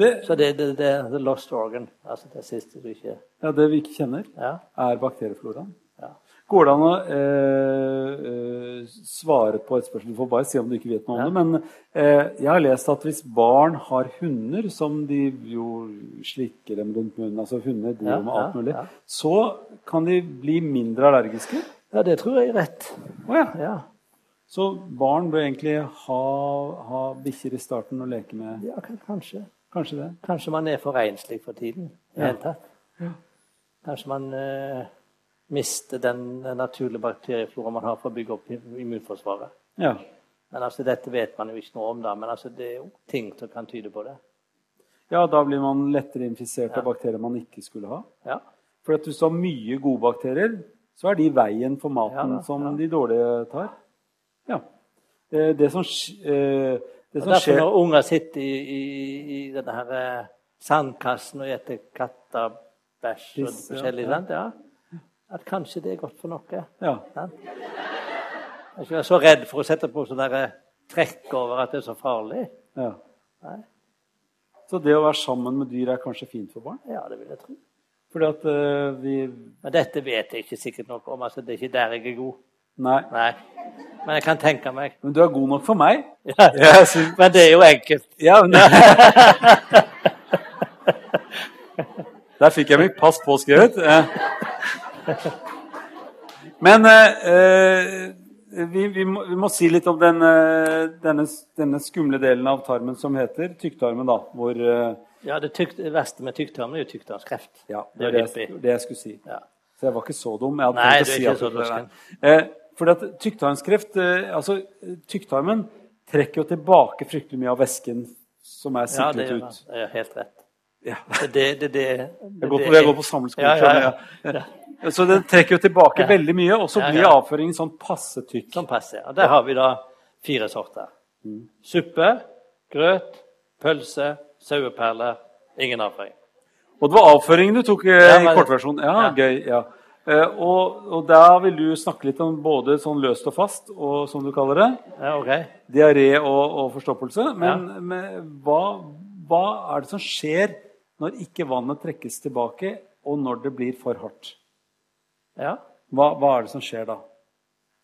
Det, Så det, det, det er the lost organ, altså det siste du ikke ja, det vi ikke kjenner, Ja. er bakteriefloraen. Ja. Går det an å eh, eh, svare på et spørsmål? Du får bare si om du ikke vet noe om det. Men eh, jeg har lest at hvis barn har hunder som de jo slikker dem rundt munnen Altså hunder driver Ja, med alt ja, mulig. ja. Så kan de bli mindre allergiske. ja, det tror jeg er rett. Å ja. Ja. Så barn bør egentlig ha, ha bikkjer i starten å leke med. ja, kan- kanskje. Kanskje det. Kanskje man er for renslig for tiden. i det hele tatt. Kanskje man eh, mister den naturlige bakteriefloraen man har for å bygge opp immunforsvaret. Ja. Men altså, Dette vet man jo ikke noe om, da, men altså, det er jo ting som kan tyde på det. ja, da blir man lettere infisert av bakterier man ikke skulle ha. Ja, For at hvis du har mye gode bakterier, så er de veien for maten Ja da, som de dårlige tar. Ja. Eh, Det som, sk- eh, det og som Derfor skjer når unger sitter i, i, i denne her eh, sandkassen og spiser kattabæsj og Piss, ja, forskjellig, ja. sant? Ja. At kanskje det er godt for noe. ja, Sant? Jeg er ikke så redd for å sette på sånn der, eh, trekk over at det er så farlig. ja. Nei. Så det å være sammen med dyr er kanskje fint for barn? Ja, det vil jeg tro. Fordi at eh, vi Men dette vet jeg ikke sikkert noe om. altså Det er ikke der jeg er god. Nei. Nei. Men jeg kan tenke meg. Men du er god nok for meg. Ja. Jeg synes- Men det er jo enkelt. Ja, men... Der fikk jeg mitt pass påskrevet. Eh. Men eh, eh, vi, vi, må, vi må si litt om den, eh, denne, denne skumle delen av tarmen som heter tykktarmen, da. Hvor eh, Ja, Det, tykt, det verste med tykktarmen er jo tykktarmskreft. Ja, det Det er var det jo jeg, hyppig. det jeg skulle si. Ja. Så jeg var ikke så dum. Jeg hadde Nei, tenkt å du er si ikke at så det var- dum, Eh, fordi at tykktarmskreft eh, Altså, tykktarmen trekker jo tilbake fryktelig mye av væsken som er Ja, det siklet gjør ut. han. Det er helt rett. Ja. Det, det, det, det, det, Jeg går på, jeg går på samleskole Ja, ja, ja. selv, ja. Så den trekker jo tilbake Ja. veldig mye, og så Ja, blir ja. avføringen sånn passe tykk. Sånn passer. Og der har vi da fire sorter. Mm. Suppe, grøt, pølse, saueperler. Ingen avføring. Og det var avføringen du tok eh, Ja, i men- kortversjon. Ja, Ja. gøy. ja. Eh, og, og da vil du snakke litt om både sånn løst og fast, og som du kaller det, Ja, ok. diaré og, og forstoppelse. Men, Ja. men hva, hva er det som skjer når ikke vannet trekkes tilbake, og når det blir for hardt? Ja. Hva, hva er det som skjer da?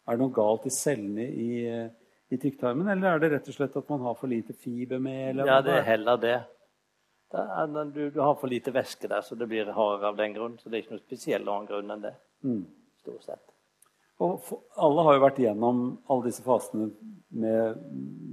Er det noe galt i cellene i, eh, i tykktarmen, eller er det rett og slett at man har for lite fiber med? Eller ja, hva det er er det? heller det. Da er den- Du, du har for lite væske der, så det blir hardere av den grunn. Så det er ikke noe spesiell annen grunn enn det. Stort sett. Og for, alle har jo vært gjennom alle disse fasene med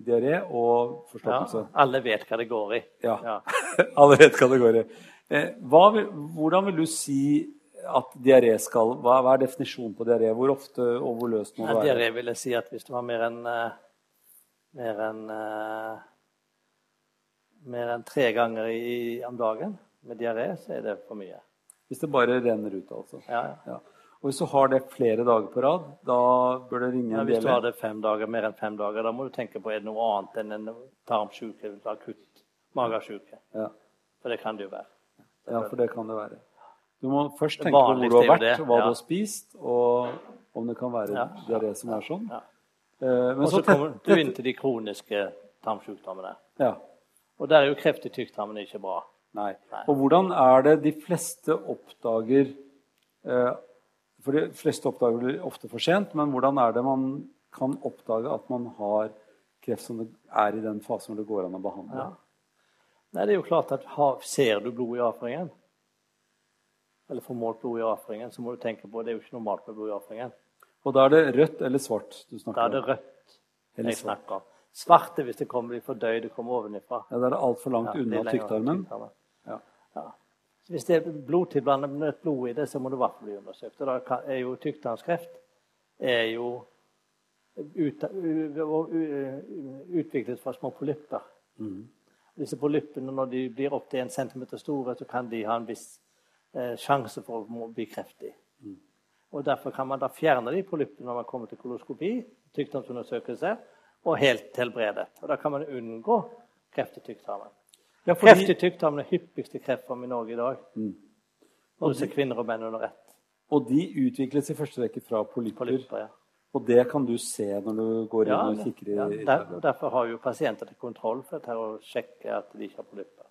diaré og Ja, forstoppelse. alle vet hva det går i. Ja. Allerede kategori. Eh, hva vil, hvordan vil du si at diaré skal hva, hva er definisjonen på diaré? Hvor ofte og hvor løst må Ja, det være? Diaré vil jeg si at hvis det var mer enn eh, mer enn eh, mer enn tre ganger i, om dagen med diaré, så er det for mye. Hvis det bare renner ut, altså. Ja, ja. Ja. Og hvis du har det flere dager på rad, da bør det ringe Men en hvis du dialé. har det fem dager, mer enn fem dager, da må du tenke på er det noe annet enn en tarmsjuke, en akutt magesjuke. Ja. For det kan det jo være. ja, for det kan det være. Du må først Det tenke på hvor du har vanligste er vært, jo det, hva ja. du har spist, og om det kan være Ja. diaré som er sånn. Ja. Eh, Men Og så tett- kommer du tett- inn til de kroniske tarmsjukdommene. Ja. Og der er jo kreft i tykktarmen ikke bra. Nei. Nei. Og hvordan er det de fleste oppdager eh, For de fleste oppdager det ofte for sent, men hvordan er det man kan oppdage at man har kreft som det er i den fasen hvor det går an å behandle? Ja. Nei, det er jo klart at har, ser du blod i avføringen, eller får målt blod i avføringen, så må du tenke på det er jo ikke normalt med blod i avføringen. Og da er det rødt eller svart du Da snakker er sånn. det om? rødt Eller jeg svart. snakker om. Svart er hvis det kommer de fordøyd, det kommer ovenifra. Ja, da er det altfor langt Ja, det er unna lenger tykktarmen. tykktarmen. Ja. Ja. Så Hvis det er blodtilblandet med nødt blod i det, så må det i hvert fall bli undersøkt. Og da kan- er jo tykktarmskreft er jo ut, u, u, u, utviklet fra små polypper. Mm. Disse polyppene, når de blir opptil en centimeter store, så kan de ha en viss eh, sjanse for å må bli kreftig. Mm. Og Derfor kan man da fjerne de polyppene når man kommer til koloskopi, tykktarmsundersøkelse, og helt helbredet. Og Da kan man unngå kreft i tykktarmen. Ja, Kreft fordi, i Mm. tykktarmen er hyppigste kreftform i Norge i dag. Både til kvinner og menn under ett. og de utvikles i første rekke fra polypper. Polypper, ja. Og det kan du se når du går Ja, inn og det- kikker i ja, i der, derfor har jo pasienter til kontroll for dette her å sjekke at de ikke har polypper.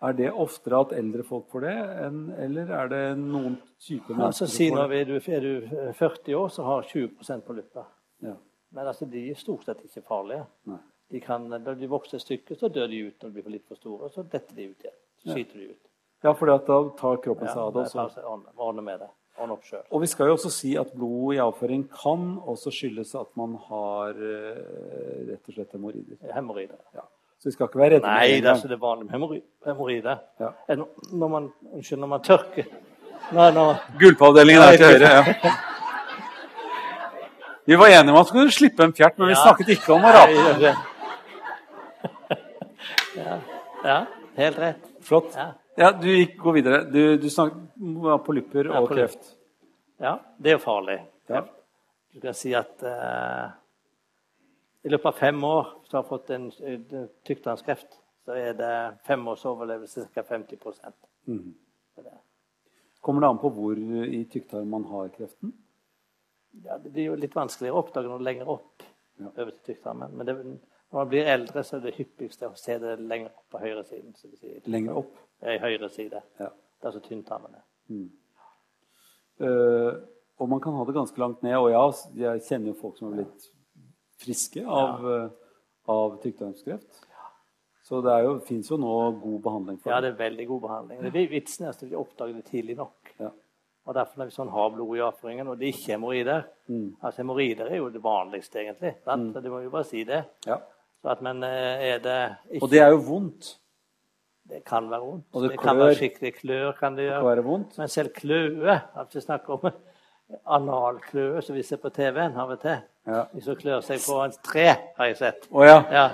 Er det oftere at eldre folk får det, enn, eller er det noen typer som Altså, si får når det? vi, du, er du 40 år, så har 20 polypper. Ja. Men altså, de er stort sett ikke farlige. Nei. De kan, når de vokser et stykke, så dør de ut når de blir for litt for store. Så detter de ut igjen. Så skyter de ut. ja, for da tar kroppen Ja, seg av det. Også. nei, altså, ordne, ordne med det. Ordne opp sjøl. Og vi skal jo også si at blod i avføring kan også skyldes at man har eh, rett og slett hemoroider. Hemoroider. Ja. Så vi skal ikke være redde. for Nei, det det er engang. ikke det vanlige med hemorri- hemoroider. Ja. En- Når man, unnskyld, når man tørker Nei, når, Gulpeavdelingen er til høyre. ja. Vi var enige om at vi skulle slippe en fjert, men vi Ja. snakket ikke om å rape. ja. ja, helt rett. Flott. Ja. Ja, du gikk, gå videre. Du, du snakket polypper og polypp. kreft. Ja, det er jo farlig. Ja. Du kan si at eh, i løpet av fem år hvis du har fått en eh, tykktarmskreft, så er det fem års overlevelse ca. 50 Kommer det an på hvor i tykktarmen man har kreften? ja, Det blir jo litt vanskeligere å oppdage når det er lenger opp Ja. over til tykktarmen. Men det, når man blir eldre, så er det hyppigste å se det lenger opp på høyresiden. som vi sier. Lenger opp? Ja, i høyre side. Ja. Det er altså tynntarmene. Eh, og man kan ha det ganske langt ned. Og ja, s- jeg kjenner jo folk som har blitt friske av, eh, av tykktarmskreft. Så det er jo- fins jo nå god behandling for Ja, det. det er veldig god behandling. Det er vitsen er at vi oppdager det tidlig nok. Ja. Og derfor når vi sånn har blod i avføringen, og det er ikke hemoroider Mm. Altså Hemoroider er jo det vanligste, egentlig. Sant? Så Du må jo bare si det. Ja. Så at, men eh, er det Og ikke det er jo vondt. Det kan være vondt. Og det kan klør. være skikkelig klør. kan det Det gjøre. kan være vondt. Men selv kløe at Vi snakker om analkløe, som vi ser på TV-en av og til. Ja. De som klør seg på et tre, har jeg sett. Å ja. Ja.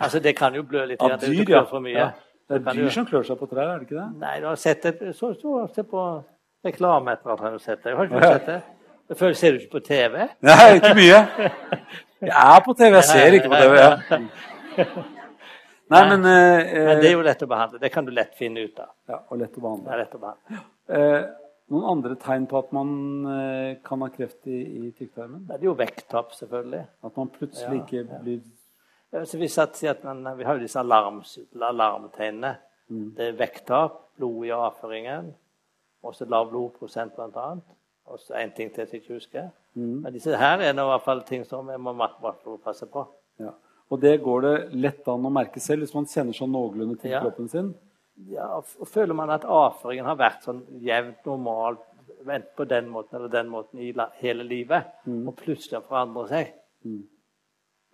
Altså, det kan jo blø litt. Av grann, hvis du dyr, ja. klør For mye. ja. Det Så er kan dyr du- som klør seg på trær, er det ikke det? Nei, du har sett det så, så, se på reklame etter at han har sett det. Har ikke du sett det? Det føles ser du ikke på TV. Nei, ikke mye. Jeg er på TV, jeg ser ikke på TV. Ja. Nei, men, eh, Men det er jo lett å behandle. Det kan du lett finne ut av. ja, Og lett å behandle. Det er lett å behandle. Eh, noen andre tegn på at man eh, kan ha kreft i, i tykktarmen? Det er jo vekttap, selvfølgelig. At man plutselig ikke blir Eh, Så vi satt sier at man, vi har jo disse alarms, alarmtegnene. Det er vekttap, blod i avføringen, og så lav blodprosent, blant annet. Og så en ting til som jeg ikke husker. Men disse her er nå i hvert fall ting som jeg må mat- mat- passe på. ja. Og det går det lett an å merke selv hvis man kjenner sånn noenlunde til Ja. kroppen sin. Ja, og f- og føler man at avføringen har vært sånn jevnt normal, enten på den måten eller den måten i la- hele livet, og plutselig forandrer seg,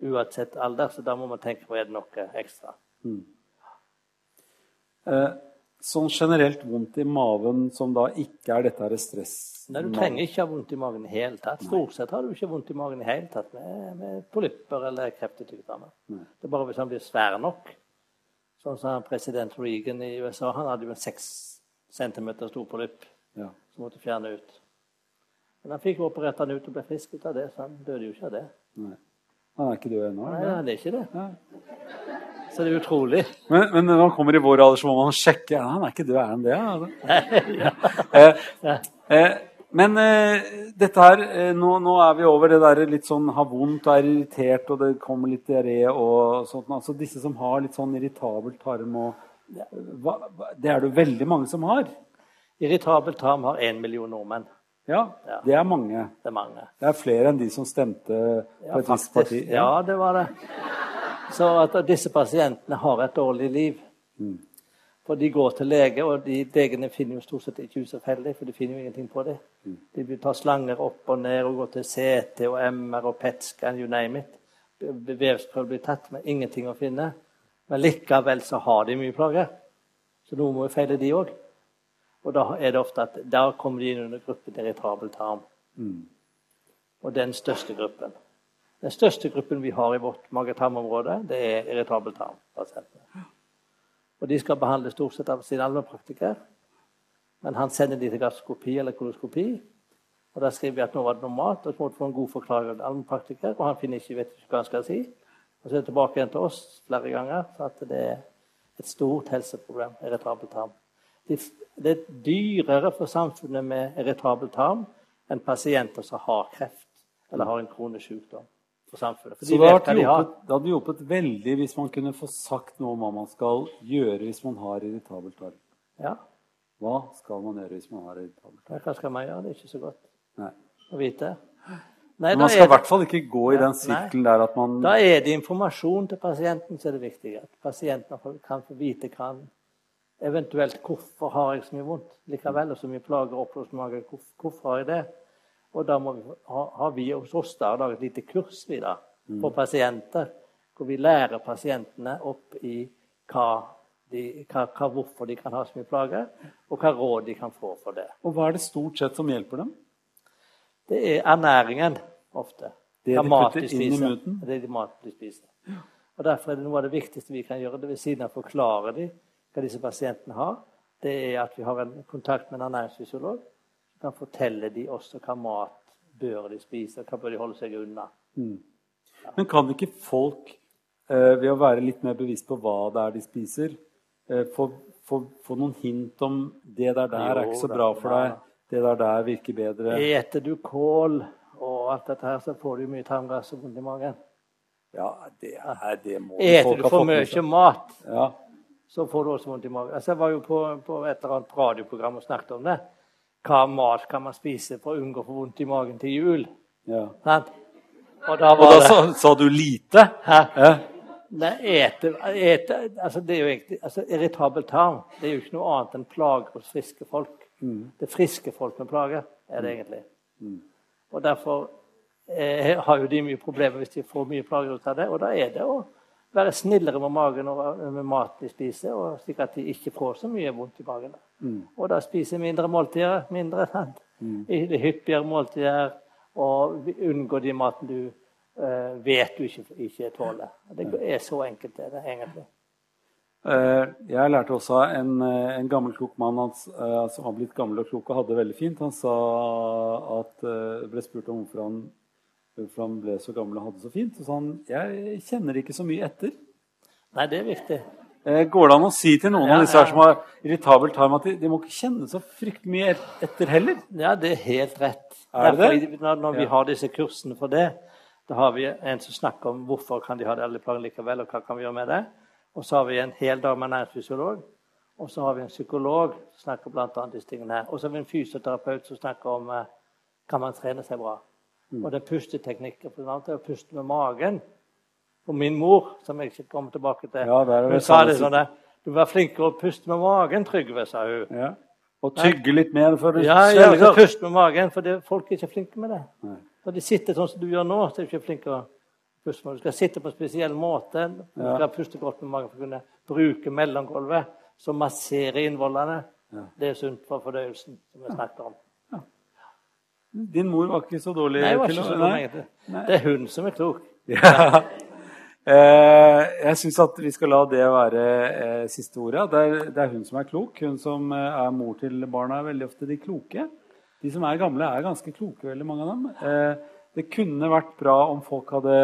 uansett alder, så da må man tenke på er det noe ekstra. Eh, sånn generelt vondt i maven som da ikke er dette her stress. Nei, du trenger ikke ha vondt i magen i det hele tatt. Stort sett har du ikke vondt i magen i det hele tatt med, med polypper eller kreft i tykktarmen. Det er bare hvis han blir svær nok. Sånn som han president Reagan i USA, han hadde jo en seks centimeter stor polypp. Ja. som måtte fjerne ut. Men han fikk jo operert han ut og ble frisk ut av det, så han døde jo ikke av det. Nei. Han er ikke død ennå? Nei, eller? han er ikke det. Så det er utrolig. Men, men når man kommer i vår alder, så må man sjekke. Ja, han er ikke død, er han det? Altså. Eh, eh, men eh, dette her eh, nå, nå er vi over det der litt sånn ha vondt og er irritert, og det kommer litt diaré og sånt. Altså disse som har litt sånn irritabel tarm og hva, hva, Det er det jo veldig mange som har. Irritabel tarm har én million nordmenn. Ja, Ja. Det er mange. Det er mange. Det er flere enn de som stemte på et visst parti. ja, det var det. Så at disse pasientene har et dårlig liv. Mm. For de går til lege, og de legene finner jo stort sett ikke ut så veldig, for de finner jo ingenting på dem. Mm. De vil ta slanger opp og ned og gå til CT og MR og E PET-scan, you name it. Ve- Vevsprøver blir tatt, men ingenting å finne. Men likevel så har de mye plager. Så noe må jo feile, de òg. Og da er det ofte at da kommer de inn under gruppen irritabel tarm. Mm. Og den største gruppen. Den største gruppen vi har i vårt mage-tarm-område, det er irritabel tarm-pasienter. Og de skal behandles stort sett av sin allmennpraktiker. Men han sender de til gastroskopi eller koloskopi. Og der skriver vi at nå var det normalt, og så må du få en god forklaring av en allmennpraktiker. Og han finner ikke, vet ikke hva han skal si. Og så er det tilbake igjen til oss flere ganger. Så at det er et stort helseproblem, irritabel tarm. Det det er dyrere for samfunnet med irritabel tarm enn pasienter som har kreft eller har en kronisk sykdom. For samfunnet. For Så de det vet hva hadde de har. hjulpet, det hadde hjulpet veldig hvis man kunne få sagt noe om hva man skal gjøre hvis man har irritabel tarm. Ja, Hva skal man gjøre hvis man har irritabel tarm? men hva skal man gjøre? Det er ikke så godt Nei. å vite. Nei, Men da man skal er i det- hvert fall ikke gå i den sirkelen der at man Da er det informasjon til pasienten som er det viktige. At pasienten får- kan få vite hva han Eventuelt hvorfor har jeg så mye vondt likevel, og så mye plager og oppblåst mage. Hvorfor, hvorfor har jeg det? Og da må vi, ha- har vi hos oss da laget et lite kurs vi da, Mm. for pasienter, hvor vi lærer pasientene opp i hva de, hva, hva, hvorfor de kan ha så mye plager, og hva råd de kan få for det. Og hva er det stort sett som hjelper dem? Det er ernæringen ofte. Det Hva de mat putter de inn i spiser. munnen? Det er de mat de spiser. Og Derfor er det noe av det viktigste vi kan gjøre, det ved siden av å forklare dem hva disse pasientene har, det er at vi har en kontakt med en ernæringsfysiolog som kan fortelle dem også hva mat bør de spise, og hva bør de holde seg unna. Men kan ikke folk, eh, ved å være litt mer bevisst på hva det er de spiser, eh, få, få, få noen hint om det der der er Jo ikke så da, bra for ja. deg, det der der virker bedre? Eter du kål og alt dette her, så får du mye tarmgass og vondt i magen. Ja, det, er, det må Eter du for mye mat, Ja. så får du også vondt i magen. Altså, jeg var jo på, på et eller annet radioprogram og snakket om det. hva mat kan man spise for å unngå å få vondt i magen til jul? Ja. Sant? Og da Og var da det sa, sa du lite? Hæ? Ja. Nei, ete, ete altså det er jo egentlig, altså Irritabel tarm det er jo ikke noe annet enn plager hos friske folk. Mm. Det er friske folk med plager, er det egentlig. Og derfor eh, har jo de mye problemer hvis de får mye plager ut av det. Og da er det å være snillere med magen og eh, med mat de spiser, og slik at de ikke får så mye vondt i magen. Og da spise mindre måltider. mindre, sant? I det Hyppigere måltider, og vi unngår de maten du eh, vet du ikke, ikke tåler. Det er så enkelt, det, det egentlig. Eh, Jeg lærte også av en, eh, en gammel, klok mann han, s- eh, som har blitt gammel og klok og hadde det veldig fint. Han sa at eh, ble spurt om hvorfor han, hvorfor han ble så gammel og hadde det så fint. Så sa han jeg kjenner ikke så mye etter. Nei, det er viktig. Eh, Går det an å si til noen Ja, av disse her ja. som har irritabel tarm, at de, de må ikke kjenne så fryktelig mye et- etter heller? Ja, det er helt rett. Er det Derfor det? vi- Når, når vi Ja. har disse kursene for det, da har vi en som snakker om hvorfor kan de ha det alle plager likevel, og hva kan vi gjøre med det. Og så har vi en hel dag med næringsfysiolog. Og så har vi en psykolog som snakker blant annet disse tingene her. Og så har vi en fysioterapeut som snakker om eh, kan man trene seg bra. Mm. Og den pusteteknikken, for eksempel, å puste med magen. Og min mor, som jeg ikke kommer tilbake til, Ja, der er hun det sa samme det som- sånn der, Du må være flinkere å puste med magen, Trygve, sa hun. Ja. Og tygge litt mer før du Ja, altså. jeg svelger. skal puste med magen, for det, folk er ikke flinke med det. Nei. Når de sitter sånn som du gjør nå, så er de ikke flinke å puste med. Du skal sitte på en spesiell måte. Du Ja. skal puste godt med magen for å kunne bruke mellomgulvet, som masserer innvollene. Det er sunt for fordøyelsen, som vi snakker om. Din mor var ikke så dårlig Nei, det var til ikke å- så Nei. dumt, egentlig. Det er hun som er klok. Ja. Eh, Jeg syns at vi skal la det være eh, siste ordet. Det er, det er hun som er klok. Hun som eh, er mor til barna, er veldig ofte de kloke. De som er gamle, er ganske kloke, veldig mange av dem. Eh, Det kunne vært bra om folk hadde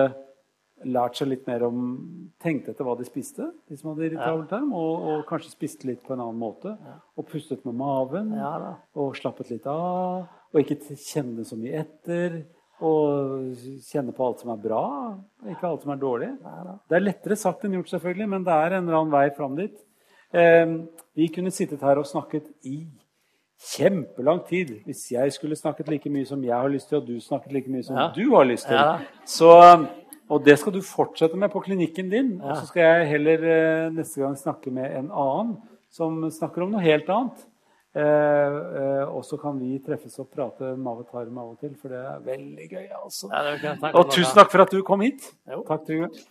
lært seg litt mer om Tenkt etter hva de spiste, de som hadde irritabel tarm, og, og kanskje spiste litt på en annen måte. Og pustet med maven Ja da. og slappet litt av. Og ikke t- kjenne så mye etter. Og kjenne på alt som er bra, ikke alt som er dårlig. Det er lettere sagt enn gjort, selvfølgelig, men det er en eller annen vei fram dit. Eh, vi kunne sittet her og snakket i kjempelang tid hvis jeg skulle snakket like mye som jeg har lyst til, og du snakket like mye som Ja. du har lyst til. Ja. Så, og det skal du fortsette med på klinikken din. Og så skal jeg heller eh, neste gang snakke med en annen som snakker om noe helt annet. Eh, eh, og så kan vi treffes og prate mave og tarm av og til, for det er veldig gøy. altså. Ja, det kan jeg snakke om Og nå, tusen da. takk for at du kom hit. Jo. Takk, Trygve.